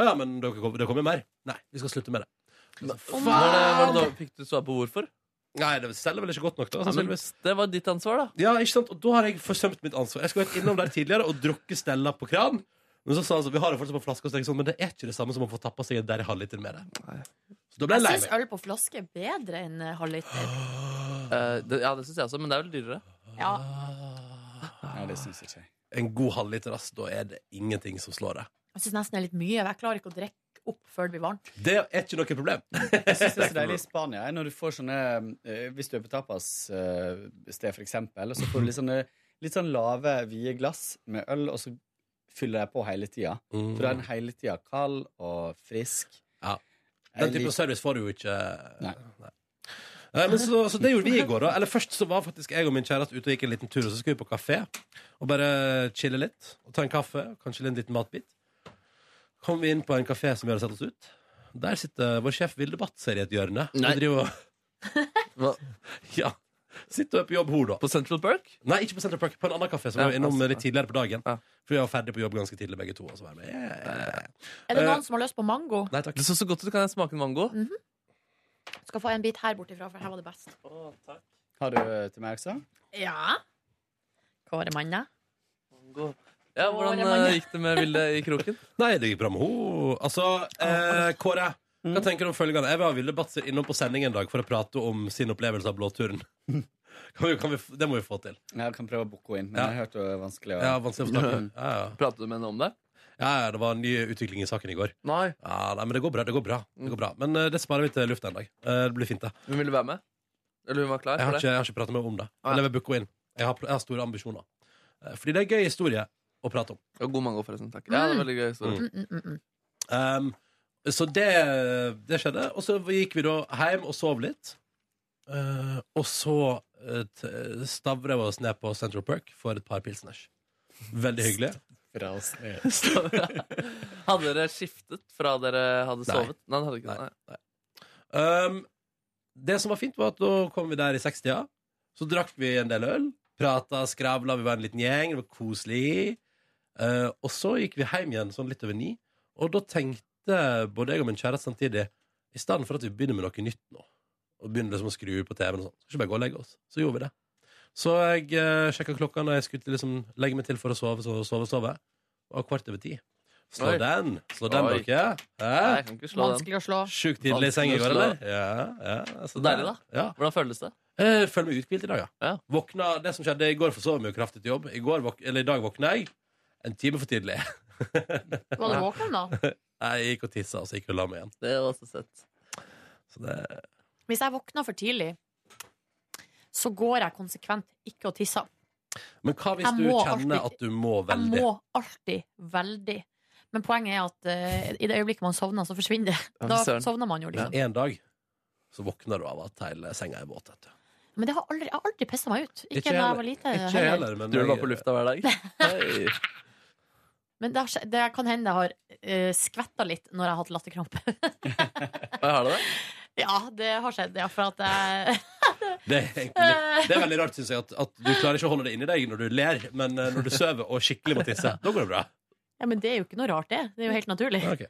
B: Å ja, men dere kom- det kommer mer. Nei, vi skal slutte med det.
C: Faen.
B: Var det- var det da-
C: Fikk du svar på hvorfor?
B: Nei, det selger vel ikke godt nok, da.
C: Ja, men
B: sannsynligvis.
C: det var ditt ansvar, da.
B: Ja, ikke sant? Og da har jeg forsømt mitt ansvar. Jeg skulle vært innom der tidligere og drukket Stella på kran. Men så sa han sånn, vi har det fortsatt på flaske, og så tenkte jeg sånn, men det er ikke det samme som å få tappa seg en der halvliter med det. Så da ble jeg lei
D: Jeg syns
B: meg.
D: øl på flaske er bedre enn eh, halvliter.
B: Ah.
C: Eh, det, ja, det syns jeg også, men det er vel dyrere.
D: Ja.
B: En god halvliter, ass, da er det ingenting som slår det.
D: Jeg syns nesten det er litt mye. Jeg klarer ikke å drikke opp før det blir varmt.
B: Det er ikke noe problem.
O: Jeg synes det er så deilig i Spania jeg, når du får sånne eh, Hvis du er på tapassted, for eksempel, så får du litt sånne litt sånn lave, vide glass med øl, og så fyller jeg på hele tida.
B: Mm.
O: For da er den hele tida kald og frisk.
B: Den typen service får du jo ikke. Nei. Eh, Men så, så det gjorde vi i går. da Eller Først så var faktisk jeg og min kjæreste ute og gikk en liten tur, og så skulle vi på kafé og bare chille litt. Og Ta en kaffe, kanskje en liten matbit. Kom vi inn på en kafé som vi hadde sett oss ut. Der sitter vår sjef Vilde Batzer i et hjørne. Nei. Driver,
C: Hva?
B: ja. Sitter og er på jobb, hun, da.
C: På Central Park?
B: Nei, ikke på Central Park. På en annen kafé som
C: Ja,
B: vi var innom
C: altså,
B: litt tidligere på dagen. For vi var ferdig på jobb ganske tidlig, begge to. Og så var jeg med. Yeah.
D: Er det
B: Eh,
D: noen som har lyst på mango?
B: Nei, takk.
C: Det så så godt ut. Kan jeg smake en mango?
D: Skal få en bit her bortifra, for her var det best.
O: Har du eh, til meg også?
D: Ja. Kåre Manna.
C: Ja, Hvordan
D: Åre, mann.
C: eh, gikk det med Vilde i kroken?
B: Nei, det gikk bra med henne. Altså, eh, Kåre,
C: Mm.
B: hva tenker du om følgende? Jeg var Ville Batzer innom på sending en dag for å prate om sin opplevelse av blåturen. Kan vi, kan vi, f- det må vi få til.
O: Jeg kan prøve å booke henne inn, men
B: Ja.
O: jeg har hørt det er vanskelig å
B: Ja, vanskelig å snakke
O: Mm.
B: ja, ja.
C: Pratet du med henne om det?
B: Ja, ja, det var en ny utvikling i saken i går.
C: Nei.
B: Ja, nei, Men det går bra. det går bra, det går bra.
C: Mm.
B: Men eh, det sparer vi til lufta en dag. Eh, det blir fint, det.
C: Hun ville være med? Eller hun var klar?
B: Jeg har
C: for
B: ikke,
C: det?
B: jeg har ikke pratet med henne om det. Men jeg vil booke henne inn. Jeg har, pl- jeg har store ambisjoner. Eh, Fordi det er en gøy historie å prate om.
C: Ja, god mango, forresten. Takk. Ja, det var veldig gøy historie.
B: Mm. Um, så det, det skjedde. Og så gikk vi da hjem og sov litt. Eh, og så uh, stavra vi oss ned på Central Perk for et par pilsners. Veldig hyggelig.
O: Fra oss ned.
C: Hadde dere skiftet fra dere hadde
B: Nei.
C: sovet? Nei, dere hadde ikke det.
B: Nei. Um, det som var fint, var at da kom vi der i 60-tida. Så drakk vi en del øl. Prata, skravla, vi var en liten gjeng. Det var koselig. Eh, og så gikk vi hjem igjen sånn litt over ni. Og da tenkte både jeg og min kjæreste samtidig I stedet for at vi begynner med noe nytt nå, og begynner liksom å skru på TV-en og sånn, skal vi ikke bare gå og legge oss? Så gjorde vi det. Så jeg uh, sjekka klokka når jeg skulle til liksom legge meg til for å sove, så sove, sove. Og kvart over ti. Slå
C: Oi.
B: den! Slå den,
C: Oi.
B: dere.
C: Nei, jeg kan ikke slå den.
D: Vanskelig å slå.
B: Sjukt tidlig i seng i går, eller? Ja, ja.
C: Så deilig, da.
B: Ja.
C: Hvordan føles det?
B: Jeg føler meg uthvilt i dag, ja. Våkna, det som skjedde I går forsov jeg meg jo kraftig til jobb. I, går, våk- eller, I dag våkna jeg en time for tidlig.
D: Var du våken da?
B: Nei, Jeg gikk og tissa, og så gikk jeg og la meg igjen.
C: Det var så søtt.
B: Så det,
D: Hvis jeg våkner for tidlig, så går jeg konsekvent ikke og tisser.
B: men hva hvis
D: Jeg
B: du
D: må
B: kjenner
D: alltid-
B: at du må
D: Jeg
B: veldig?
D: må alltid veldig. Men poenget er at eh, i det øyeblikket man sovner, så forsvinner det.
B: Ja,
D: Da
B: søren.
D: sovner man jo, liksom.
B: Men en dag så våkner du av at hele senga er våt. vet du.
D: Men det har aldri, jeg har aldri pissa meg ut. Ikke,
B: Ikke
D: da jeg
B: heller-
D: var lite.
B: ikke
D: heller.
B: heller, men
C: Tror du
B: jeg-
C: var på lufta hver dag? Hei.
D: Men det, har, skje- det kan hende jeg har uh, skvetta litt når jeg har hatt latterkrampe.
C: Har du det?
D: ja, det har skjedd, ja. For at jeg
B: Det er, egentlig, det er veldig rart, syns jeg, at, at du klarer ikke å holde det inni deg når du ler, men eh, når du sover og skikkelig må tisse, da går det bra.
D: Ja, men det er jo ikke noe rart, det. Det er jo helt naturlig.
B: Ok.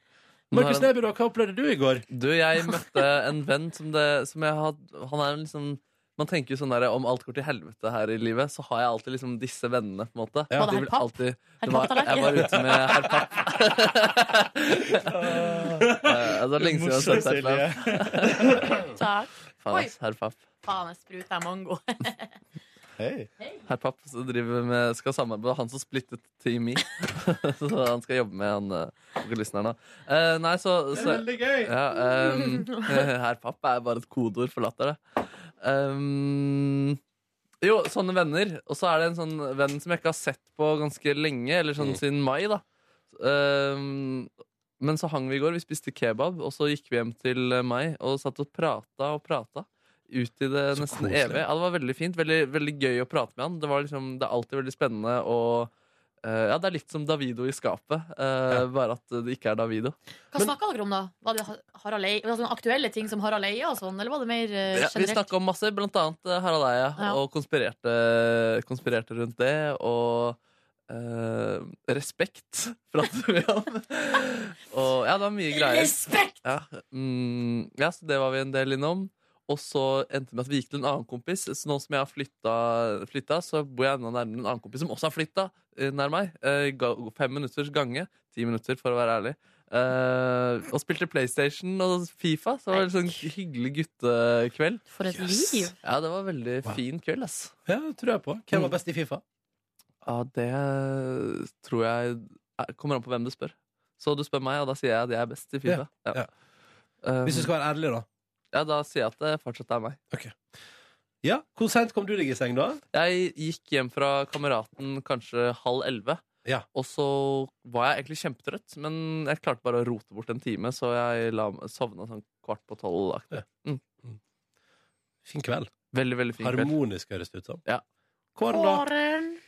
B: Markus Neby, da, hva opplevde du i går?
C: Du, jeg møtte en venn som, det, som jeg had, Han er en liksom Man tenker jo sånn der om alt går til helvete her i livet, så har jeg alltid liksom disse vennene, på en måte.
D: Ja. Var det
C: De
D: herr
C: vil
D: Papp?
C: alltid-
D: Herr
C: det var-
D: Papp tallerken?
C: Jeg var ute med herr Papp. Eh, Det var lenge siden jeg har sett deg slapp.
D: Takk.
C: Faen,
D: Oi,
C: ass, herr Papp.
D: faen, jeg spruta en mango.
C: Herr Papp som driver med, skal samarbeide Han som splittet Team Me. så han skal jobbe med han eh, vokalisten her nå. Eh, nei, så,
B: Det er
C: så
B: veldig gøy.
C: Ja, ehm, herr Papp er bare et kodeord for latter, det. Ehm, jo, sånne venner. Og så er det en sånn venn som jeg ikke har sett på ganske lenge, eller sånn
B: Mm.
C: siden mai, da. Ehm, men så hang vi i går, vi spiste kebab, og så gikk vi hjem til eh, meg og satt og prata og prata. Ut i det nesten
B: koselig.
C: evige. Ja, det var veldig fint. Veldig, veldig gøy å prate med han. Det, var liksom, det er alltid veldig spennende og eh, Ja, det er litt som Davido i skapet, eh, bare at det ikke er Davido.
D: Hva snakka dere om, da? Var det Harald Eia? Altså, aktuelle ting som Harald Eia og sånn, eller var det mer eh,
C: Ja, vi
D: generelt?
C: snakka om masse, blant annet eh, Harald Eia,
D: Ja.
C: og konspirerte, konspirerte rundt det. Og eh, respekt pratet vi om. og ja, det var mye greier.
D: Respekt!
C: Ja, mm, ja, så det var vi en del innom. Og så endte det med at vi gikk til en annen kompis. Så nå som jeg har flytta, flytta så bor jeg enda nærmere en annen kompis som også har flytta nær meg. Eh, ga- Fem minutters gange. Ti minutter, for å være ærlig. Eh, og spilte PlayStation og Fifa. Så det var en sånn hyggelig guttekveld.
D: For et
C: Yes.
D: liv!
C: Ja, det var en veldig fin kveld, ass.
B: Ja, det tror jeg på. Hvem var best i Fifa?
C: Ja, det tror jeg er- Kommer an på hvem du spør. Så du spør meg, og da sier jeg at jeg er best i Fifa. Ja.
B: Hvis du skal være ærlig, da?
C: Ja, da sier jeg at det fortsatt er meg.
B: Ja, Hvor seint kom du deg i seng, da?
C: Jeg gikk hjem fra kameraten kanskje halv elleve. Og så var jeg egentlig kjempetrøtt, men jeg klarte bare å rote bort en time, så jeg la, sovna sånn kvart på tolv. aktig. Mm.
B: Fin kveld.
C: Veldig, veldig fin kveld.
B: Harmonisk høres det ut som.
C: Ja.
B: Kåren, da?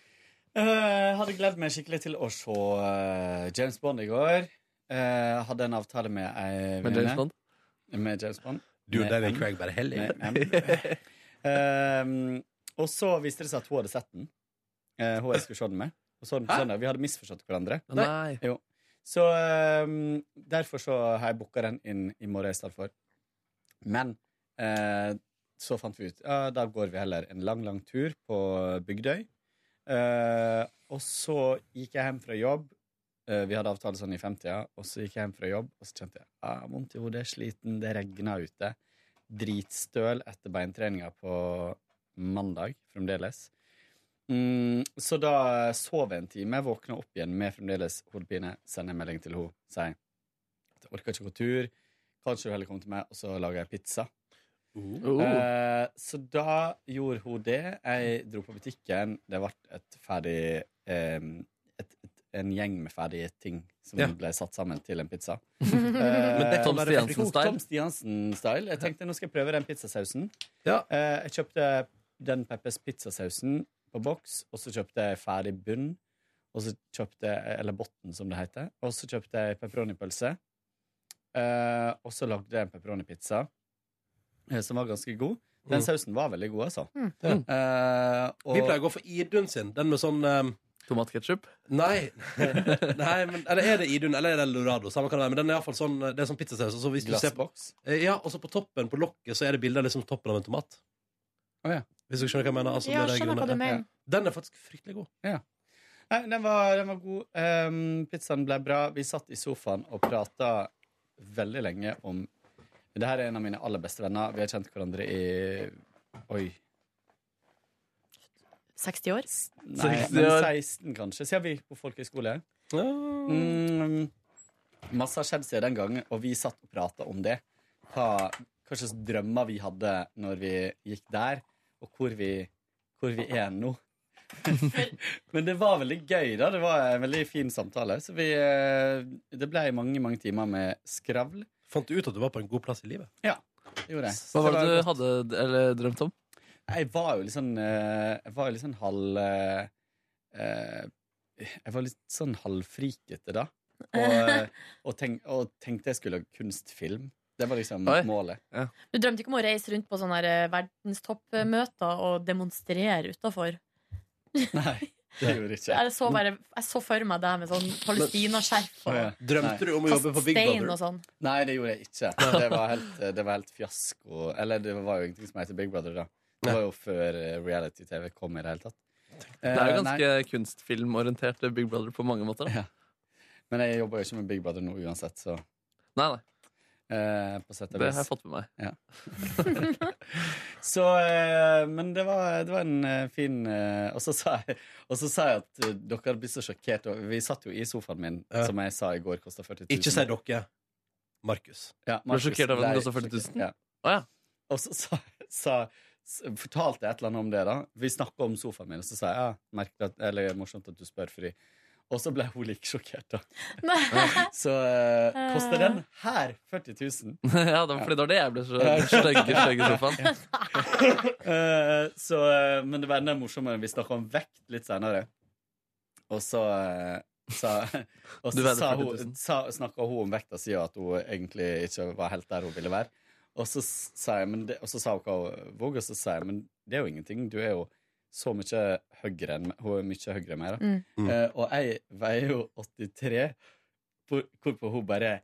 O: Eh, hadde gledet meg skikkelig til å se eh, James Bond i går. Eh, hadde en avtale med ei
C: Med James Bond?
O: Med James Bond.
B: Du og
O: Med
B: Daniel
O: M.
B: Craig bare heller.
O: Med M. Eh, og så viste det seg at hun hadde sett den. Eh, hun jeg skulle se den med. Og så den på søndag. Vi hadde misforstått hverandre.
C: Nei.
O: Jo. Så eh, derfor så har jeg booka den inn i morgen i stedet for. Men eh, så fant vi ut ja, da går vi heller en lang, lang tur på Bygdøy. Eh, og så gikk jeg hjem fra jobb. Eh, vi hadde avtale sånn i 50-tida. Og så gikk jeg hjem fra jobb, og så kjente jeg ah, vondt i hodet, sliten, det regna ute. Dritstøl etter beintreninga på mandag fremdeles. Mm, så da sov jeg en time, våkna opp igjen med fremdeles hodepine, sender en melding til henne, sier at jeg orker ikke gå tur, kan ikke du heller komme til meg, og så lager jeg pizza.
B: Oh.
O: Eh, så da gjorde hun det. Jeg dro på butikken. Det ble et ferdig eh, et, et, En gjeng med ferdige ting som
B: Ja.
O: ble satt sammen til en pizza. Eh,
B: Men det kan Tom være veldig Stiansen-style.
O: Tom Stiansen-style. Jeg tenkte nå skal jeg prøve den pizzasausen. Eh, jeg kjøpte den Peppers pizzasausen på boks, og så kjøpte jeg ferdig bunn. Og så kjøpte jeg, Eller botten, som det heter. Og så kjøpte jeg pepperoni-pølse. Eh, og så lagde jeg en pepperoni-pizza eh, som var ganske god. Den
B: Mm.
O: sausen var veldig god, altså.
B: Mm.
O: Eh, og-
B: Oh. Vi pleier å gå for Idun sin. Den med sånn um...
C: Tomatketchup?
B: Nei. Nei men, eller er det Idun eller er det Lorado? Samme hva det er, men den er i hvert fall sånn, det er sånn pizzasaus. og så hvis du ser på-
O: Glassboks?
B: Eh, Ja, og så på toppen på lokket så er det bilde av liksom toppen av en tomat. Hvis du skjønner hva jeg mener? Altså,
O: Ja,
B: med det
O: skjønner hva
B: grønne.
O: du mener.
B: Den er faktisk fryktelig god.
O: Ja. Nei, den var, den var god. Ehm, pizzaen ble bra. Vi satt i sofaen og prata veldig lenge om Det her er en av mine aller beste venner. Vi har kjent hverandre i Oi.
D: 60 år?
O: Nei, men 16, kanskje. Siden vi gikk på folkehøyskole. Mm, masse har skjedd siden den gangen, og vi satt og prata om det. Hva, hva slags drømmer vi hadde når vi gikk der, og hvor vi, hvor vi er nå. Men det var veldig gøy, da. Det var en veldig fin samtale. Så vi, eh, det ble mange, mange timer med skravl.
B: Fant du ut at du var på en god plass i livet?
O: Ja, det gjorde jeg.
C: Hva var det du
O: godt.
C: hadde eller, drømt om?
O: Jeg var jo litt sånn eh, Jeg var jo litt sånn halv eh, eh, Jeg var litt sånn halvfrikete da. Og, og, tenk, og tenkte jeg skulle lage kunstfilm. Det var liksom målet.
D: Du drømte ikke om å reise rundt på sånne her, eh, verdenstoppmøter og demonstrere utafor?
O: Det gjorde jeg ikke.
D: Jeg så, bare, jeg så for meg deg med sånn palestinaskjerf og
B: Drømte du om å jobbe på Big
D: stein og
B: Brother?
D: sånn.
O: Nei, det gjorde jeg ikke. Det var helt, det var helt fiasko. Eller det var jo ingenting som heter Big Brother, da. Det var jo før eh, reality-TV kom i det hele tatt.
C: Det er jo
O: Eh, nei.
C: ganske kunstfilmorientert eh, Big Brother på mange måter.
O: da. Men jeg jobber jo ikke med Big Brother nå uansett, så
C: Nei, nei.
O: eh, på sett og
C: Det
O: vis.
C: har jeg fått med meg.
O: Ja. Så, eh, men det var, det var en eh, fin eh, Og så sa jeg, og så sa jeg at eh, dere hadde blitt så sjokkert. Og vi satt jo i sofaen min,
B: Ja.
O: som jeg sa i går kosta 40 000.
B: Ikke si dere. Markus.
O: Ja,
B: Ble
O: Markus
B: sjokkert av at den
O: ble
B: kostet 40 000?
O: sjokkert, Ja. Og så sa, sa, s- fortalte jeg et eller annet om det. da Vi snakka om sofaen min, og så sa jeg ja, merkelig at, eller morsomt at du spør, fordi Og så ble hun like sjokkert, da. så eh, koster den her 40 000?
C: ja, det var fordi det var det jeg ble så
O: Ja.
C: stygge, stygge sofaen.
O: Eh, så, eh, men det var enda morsommere. Vi snakka om vekt litt seinere. Og så eh, sa, og
C: Du
O: så
C: veide
O: sa
C: 40 000.
O: hun, sa, snakka hun om vekta si, og at hun egentlig ikke var helt der hun ville være. Og så, s- sa jeg, men det, og så sa hun hva hun våg, og så sa jeg men det er jo ingenting. Du er jo så mye høyere enn meg. Hun er mye høyere enn meg, da.
P: Mm. Mm.
O: Eh, og jeg veier jo 83, hvor- hvorpå hun bare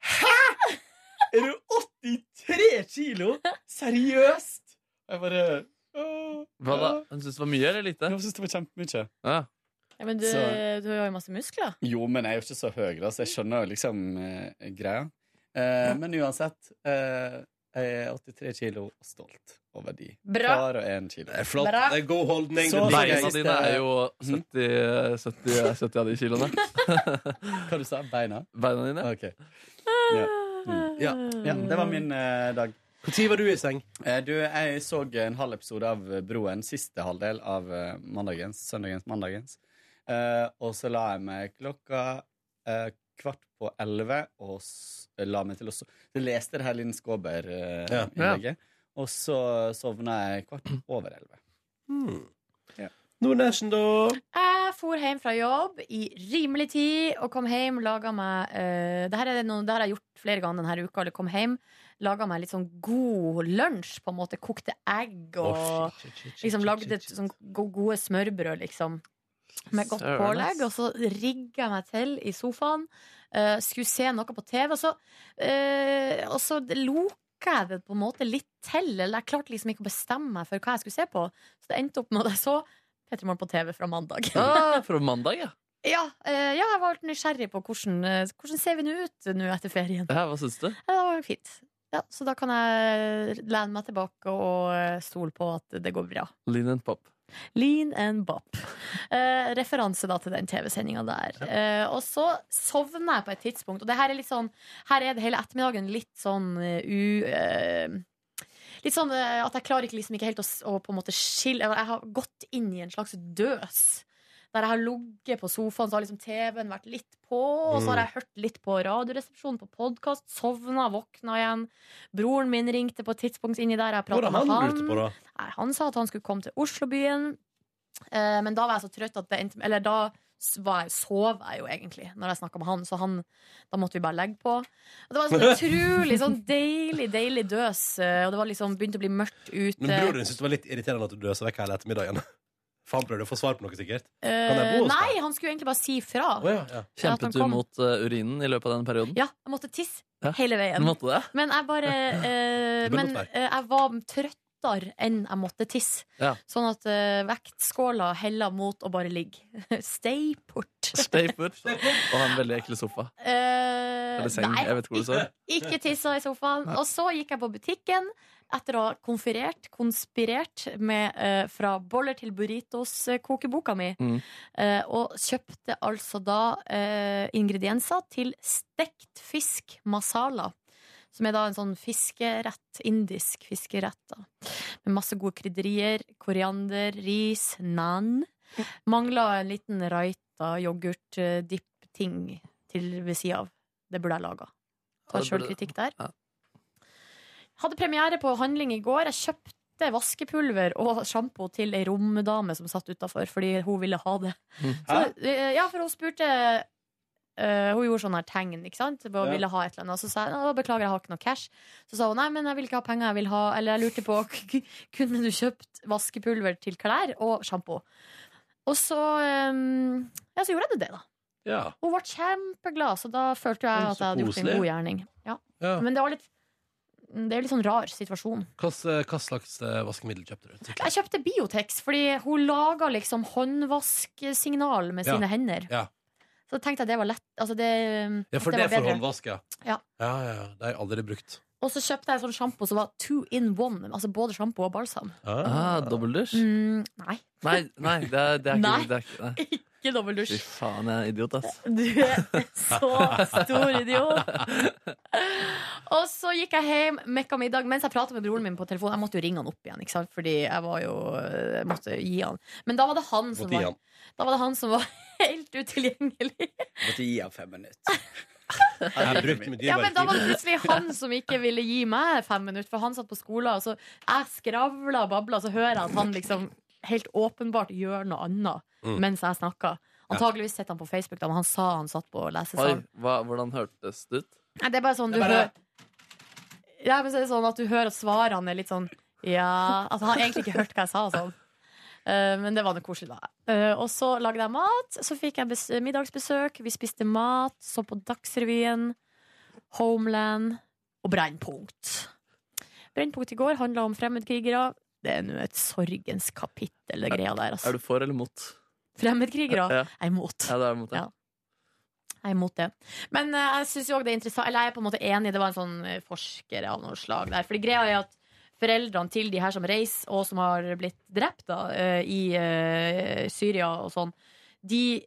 O: Hæ?! Er du 83 kilo?! Seriøst?! Og Jeg bare «Åh,
C: Hva da?
O: ja».
C: Hun syntes det var mye eller lite?
O: Hun syntes det var kjempemye.
C: Ja.
D: Ja, men du,
O: Så-
D: du har jo masse muskler.
O: Jo, men jeg er jo ikke så høy, da, så jeg skjønner jo liksom eh, greia. Eh, men uansett, eh, jeg er 83 kilo og stolt. over de.
D: Bra.
O: Hver og en kilo.
B: Det er flott. Bra. Det er god holdning.
O: Så
B: Det blir-
O: skal jeg
B: Beina dine
O: siste-
B: er jo
C: 70, 70, 70 eh, av de kiloene.
O: Hva du sa du? Beina?
C: Beina dine.
O: Ok. Ja. Mm. Ja. ja, det var min eh, dag.
B: Når var du i seng?
O: Eh, du, jeg så en halv episode av Broen. Siste halvdel av eh, mandagens, søndagens mandagens. Eh, og så la jeg meg klokka eh, kvart på elleve og s la meg til å sove. Du leste det her Linn
B: Ja.
O: Skåber-innlegget. Og så sovna jeg kvart over elleve.
B: Hmm. Nordnesen, da?
D: Jeg for hjem fra jobb i rimelig tid og kom hjem, laga meg uh, det, her er noe, det her har jeg gjort flere ganger denne uka. Eller kom hjem, laga meg litt sånn god lunsj, på en måte. Kokte egg og
M: Å, shit, shit, shit, shit,
D: liksom
M: shit,
D: lagde et sånn go- gode smørbrød, liksom. Med godt
M: Søren,
D: pålegg.
M: ass.
D: Og så rigga jeg meg til i sofaen. eh, skulle se noe på TV, og så, eh, og så loka jeg det på en måte litt til. Eller jeg klarte liksom ikke å bestemme meg for hva jeg skulle se på. Så det endte opp med at jeg så P3 Morgen på TV fra mandag.
C: Ah, fra mandag, ja.
D: Ja, eh, ja, jeg var litt nysgjerrig på hvordan, eh, hvordan ser vi nå ut nå etter ferien.
C: ja. Hva syns du?
D: Ja, det var fint. Ja, så da kan jeg lene meg tilbake og eh, stole på at det går bra.
C: Lean and pop.
D: Lean and bop. Eh, referanse da til den TV-sendinga der. Eh, og så sovna jeg på et tidspunkt, og det her er litt sånn Her er det hele ettermiddagen litt sånn eh, u... eh, Litt sånn eh, at jeg klarer ikke liksom ikke helt å, s- å på en måte skille eller Jeg har gått inn i en slags døs. Der jeg har ligget på sofaen, så har liksom TV-en vært litt på. Og så har
M: Mm.
D: jeg hørt litt på Radioresepsjonen, på podkast. Sovna, våkna igjen. Broren min ringte på et tidspunkt inni der. Jeg pratet
B: Hvordan han
D: med han.
B: lurte på da?
D: Nei, han sa at han skulle komme til Oslobyen. Eh, men da var jeg så trøtt at det endte Eller da s- var jeg, sov jeg jo egentlig når jeg snakka med han, så han, da måtte vi bare legge på. Og det var en sånn utrolig sånn deilig, deilig døs, eh, og det var liksom begynte å bli mørkt ute.
B: Men broren din syntes det var litt irriterende at du døsa vekk hele ettermiddagen. For han prøvde å få svar på noe, sikkert. Kan jeg
D: Eh,
B: bo hos deg?
D: nei, han skulle egentlig bare si fra.
B: Å, ja, ja.
D: Ja, at han
C: Kjempet du
D: kom.
C: mot eh, urinen i løpet av den perioden?
D: Ja, jeg måtte tisse
C: Ja.
D: hele veien.
C: Du måtte det?
D: Men jeg bare eh,
C: Det bør
D: Men
C: godt være.
D: eh, jeg var trøttere enn jeg måtte tisse.
C: Ja.
D: Sånn at eh, vektskåla hella mot å bare ligge. Stay put.
C: Stay put. Og ha en veldig ekkel sofa.
D: Eh,
C: Eller seng.
D: nei,
C: Jeg vet ikke hvor du sov.
D: Ikke tissa i sofaen. Og så gikk jeg på butikken etter å ha konferert, konspirert med eh, Fra boller til burritos-kokeboka mi.
C: Mm.
D: Eh, og kjøpte altså da eh, ingredienser til stekt fisk masala. Som er da en sånn fiskerett, indisk fiskerett, da. Med masse gode krydderier. Koriander, ris, nan. Mangla en liten raita yoghurt-dipp-ting til ved sida av. Det burde jeg laga.
M: Ja, det
D: Ta
M: burde-
D: sjølkritikk der. Hadde premiere på handling i går. Jeg kjøpte vaskepulver og sjampo til ei romdame som satt utafor, fordi hun ville ha det.
M: Mm.
D: Så, eh, ja, for hun spurte eh, Hun gjorde sånn her tegn, ikke sant? Hun
M: Ja.
D: ville ha et eller annet. Og så sa jeg «Å, beklager, jeg har ikke noe cash. Så sa hun nei, men jeg vil ikke ha penger. Jeg vil ha Eller jeg lurte på kunne du kjøpt vaskepulver til klær og sjampo. Og så eh, Ja, så gjorde jeg det, da.
B: Ja.
D: Hun ble kjempeglad, så da følte
B: Mm,
D: jeg at jeg
B: så
D: hadde gjort en
B: koselig.
D: god gjerning. Ja.
B: Ja.
D: Men det var litt det er jo litt sånn rar situasjon.
B: Hva, s- hva slags eh, vaskemiddel kjøpte du?
D: Jeg kjøpte Biotex fordi hun laga liksom håndvasksignal med
B: Ja.
D: sine hender.
B: Ja.
D: Så tenkte jeg det var lett. Altså det,
B: ja, for
D: at var
B: det er for
D: bedre.
B: håndvask, ja.
D: Ja.
B: Ja, ja, ja. Det har jeg aldri brukt.
D: Og så kjøpte jeg sånn sjampo som var two in one. Altså både sjampo og balsam.
C: Ah, Dobbeldusj?
D: Mm, nei,
C: Nei, nei, det er, det er ikke
D: Nei.
C: det er ikke- nei.
D: ikke
C: Fy
D: dobbeldusj.
C: faen, jeg er en idiot, ass.
D: Du er så stor idiot. Og så gikk jeg hjem, mekka middag mens jeg prata med broren min på telefon. Jeg måtte jo ringe han opp igjen, ikke sant? fordi jeg var jo jeg måtte gi han. Men da var det han som
O: Måtte gi
D: var,
O: han.
D: da var, det han som var helt utilgjengelig.
O: Måtte gi av fem minutter.
D: Ja, men da var det plutselig han som ikke ville gi meg fem minutter, for han satt på skolen, og så jeg skravla og babla, så hører jeg at han liksom helt åpenbart gjør noe annet
C: Mm.
D: mens jeg snakker. Antageligvis sitter han på Facebook, da, men han sa han satt på
C: Oi,
D: lesesal.
C: hva, hvordan hørtes det ut?
D: Nei, det er bare sånn du
C: Det er bare-
D: hører Ja, men så er det sånn at du hører at svarene er litt sånn Ja, altså han har egentlig ikke hørt hva jeg sa og sånn Eh, men det var noe koselig da Eh, Og så lagde jeg mat Så fikk jeg bes middagsbesøk Vi spiste mat, så på Dagsrevyen Homeland Og Brennpunkt Brennpunkt i går handlet om fremmedkrigere Det er nå et sorgens kapittel Det greia der altså
C: Er du for eller mot?
D: Fremmedkrigere,
C: Ja.
D: jeg er imot
C: Ja, det er imot, ja.
D: Ja. jeg er imot det. Men eh, jeg synes jo også det er interessant Eller jeg er på en måte enig, det var en sånn eh, forsker av noe slag der. Fordi greia er at foreldrene til de her som reiser, og som har blitt drept da, eh, i eh, Syria og sånn, de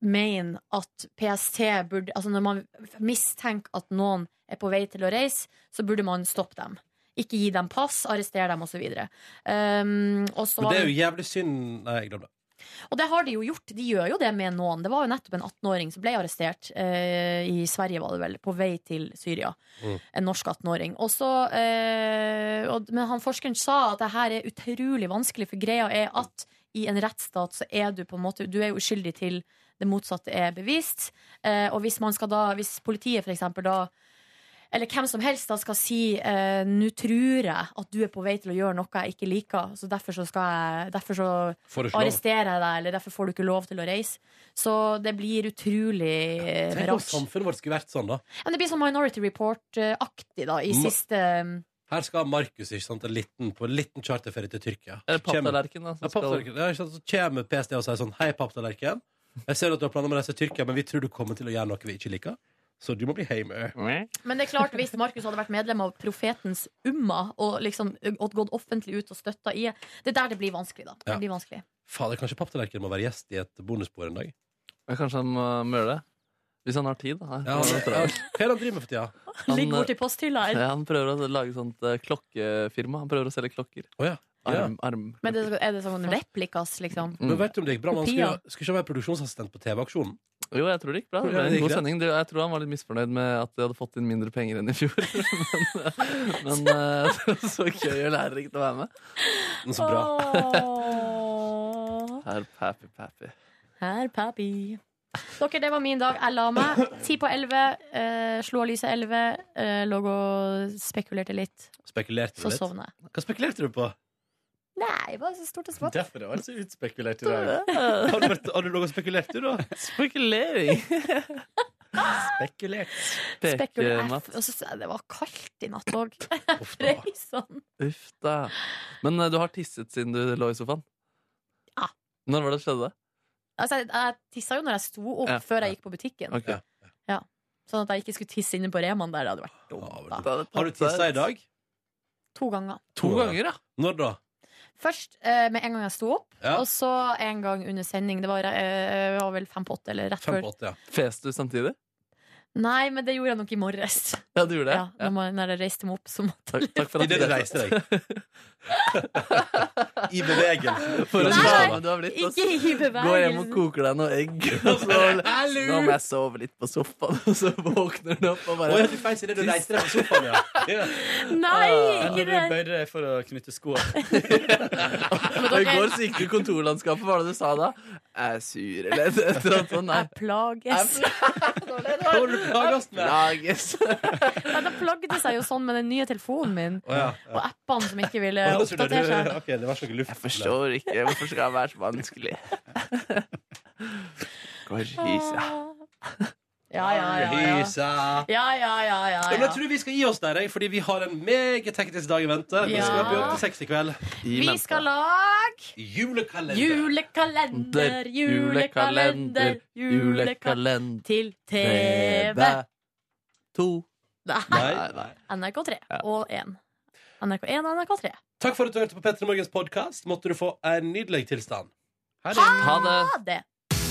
D: mener at PST burde Altså når man mistenker at noen er på vei til å reise, så burde man stoppe dem. Ikke gi dem pass, arrestere dem osv. Um, og så
B: Men det
D: var-
B: er jo jævlig synd Nei, jeg glemte det.
D: og det har de jo gjort. De gjør jo det med noen. Det var jo nettopp en 18-åring som ble arrestert eh, i Sverige, var det vel, på vei til Syria.
P: Mm.
D: En norsk 18-åring. Og så, eh, og- men han forskeren sa at det her er utrolig vanskelig, for greia er at i en rettsstat så er du på en måte Du er jo uskyldig til det motsatte er bevist. Eh, og hvis man skal da Hvis politiet for eksempel da eller hvem som helst da skal si eh, Nå tror jeg at du er på vei til å gjøre noe jeg ikke liker Så derfor så skal jeg Derfor så
B: Får du ikke lov.
D: arresterer jeg deg Eller derfor får du ikke lov til å reise Så det blir utrolig eh,
B: Tenk om
D: rart
B: samfunnet vårt skulle vært sånn, da.
D: Men det blir sånn Minority Report-aktig da I
B: Ma-
D: siste mm.
B: Her skal Markus ikke sant, en liten, på en liten charterferie til Tyrkia.
C: Eller papptallerken, da, som
B: Kjem- Ja, papptallerken. Ja, ikke sant, så kommer PST og sier sånn Hei, papptallerken. Jeg ser at du har planer om å reise til Tyrkia, men vi tror du kommer til å gjøre noe vi ikke liker. Så du må bli hjemme.
D: Men det er klart hvis Markus hadde vært medlem av profetens umma Og liksom og gått offentlig ut og støttet i Det er der det blir vanskelig da
B: Ja.
D: Det blir vanskelig
B: Fader, kanskje papptallerken må være gjest i et bonusbord en dag?
C: Ja, kanskje han må må gjøre det. Hvis han har tid, da.
B: Ja, han- Hva er det han eh, driver med for tida?
D: Ligg bort i posthylla her
C: Ja, han prøver å lage sånt eh, klokkefirma. Han prøver å selge klokker.
B: mm.
C: Arm, arm.
D: Men det, er det sånn replikas liksom
B: Men vet du om det gikk bra? Man skulle,
D: Kopier.
B: skulle ikke være produksjonsassistent på TV-aksjonen.
C: Jo, jeg tror det gikk bra. Det
B: Ja,
C: ble
B: det
C: en
B: gikk
C: god
B: det.
C: sending. Det- Jeg tror han var litt misfornøyd med at de hadde fått inn mindre penger enn i fjor. Men, men eh, så gøy og lærerikt å være med.
B: Så
D: bra.
C: Her, pappy, pappy.
D: Her, papi. Dere, det var min dag. Jeg la meg ti på elleve. Eh, slo av lyset elleve. Eh, lå og spekulerte litt.
B: Spekulerte du
D: Så
B: litt?
D: sovna jeg.
B: Hva spekulerte du på?
D: Nei, bare så stort og smått.
O: Derfor det var så utspekulert i dag.
B: Har du, vært- har du ligget og spekulert, du, da?
C: Spekulering!
B: Spekulert.
D: Spekulerte. Og så- Det var kaldt i natt òg. Røysene.
C: Uff da. Men eh, du har tisset siden du lå i sofaen?
D: Ja.
C: Når var det det skjedde?
D: Altså, jeg, jeg tissa jo når jeg sto opp,
C: Ja.
D: før jeg gikk på butikken.
C: Ok.
D: Ja. Sånn at jeg ikke skulle tisse inne på Remaen der. Det hadde vært dumt. Da.
B: Har du tissa i dag?
D: To ganger.
B: To ganger,
C: ja.
B: Når da?
D: Først eh, med en gang jeg sto opp,
B: Ja.
D: og så en gang under sending. Det var, eh, var vel fem på åtte, eller rett
C: Fem
D: før.
C: på åtte, ja. Fes du samtidig?
D: Nei, men det gjorde jeg nok i morges.
C: Ja, du gjorde det?
D: Ja, når, man, når jeg reiste meg opp, så måtte
C: Takk, takk for at
B: Idet du reiste deg. I bevegelsen.
C: For en
D: Nei, nei,
C: dame du har blitt. ass.
D: ikke i
C: Gå hjem og
D: bevegelsen.
C: koker deg noe egg. Og så,
B: Hallo!
C: nå må jeg sove litt på sofaen, og så våkner du opp og bare
B: Å, ja, du feis idet du reiste deg på sofaen, ja.
D: Nei,
O: Eller
D: ikke
O: du
D: det!
O: bøyde deg for å knytte skoene.
C: Og i går så gikk du i kontorlandskapet. Hva var det du sa da? Jeg er sur, eller et eller annet sånt. Nei.
D: Jeg plages.
B: plages
C: med? Plages.
D: Nei, det plagde seg jo sånn med den nye telefonen min.
B: Å, ja, ja.
D: Og appene som ikke ville
B: Å, da trodde
D: oppdatere
B: du-
D: seg.
B: ok, det var så ikke luft.
C: Jeg forstår ikke. Hvorfor skal jeg være så vanskelig? Gorgisa.
D: Ah. Ja, ja, ja. ja.
B: Hysa.
D: Ja, ja, ja, ja,
B: Ja, men
D: ja.
B: jeg tror vi skal gi oss der, jeg, fordi vi har en meget teknisk dag i vente. Vi skal
D: Ja.
B: opp i 86 i kveld.
D: Vi skal lage
B: Julekalender.
D: julekalender, julekalender, julekalender til TV.
C: To.
D: Nei. NRK3 og 1. NRK1 og NRK3.
B: Takk for at du hørte på Petter Morgens podkast. Måtte du få en nydelig tilstand.
D: Ha det!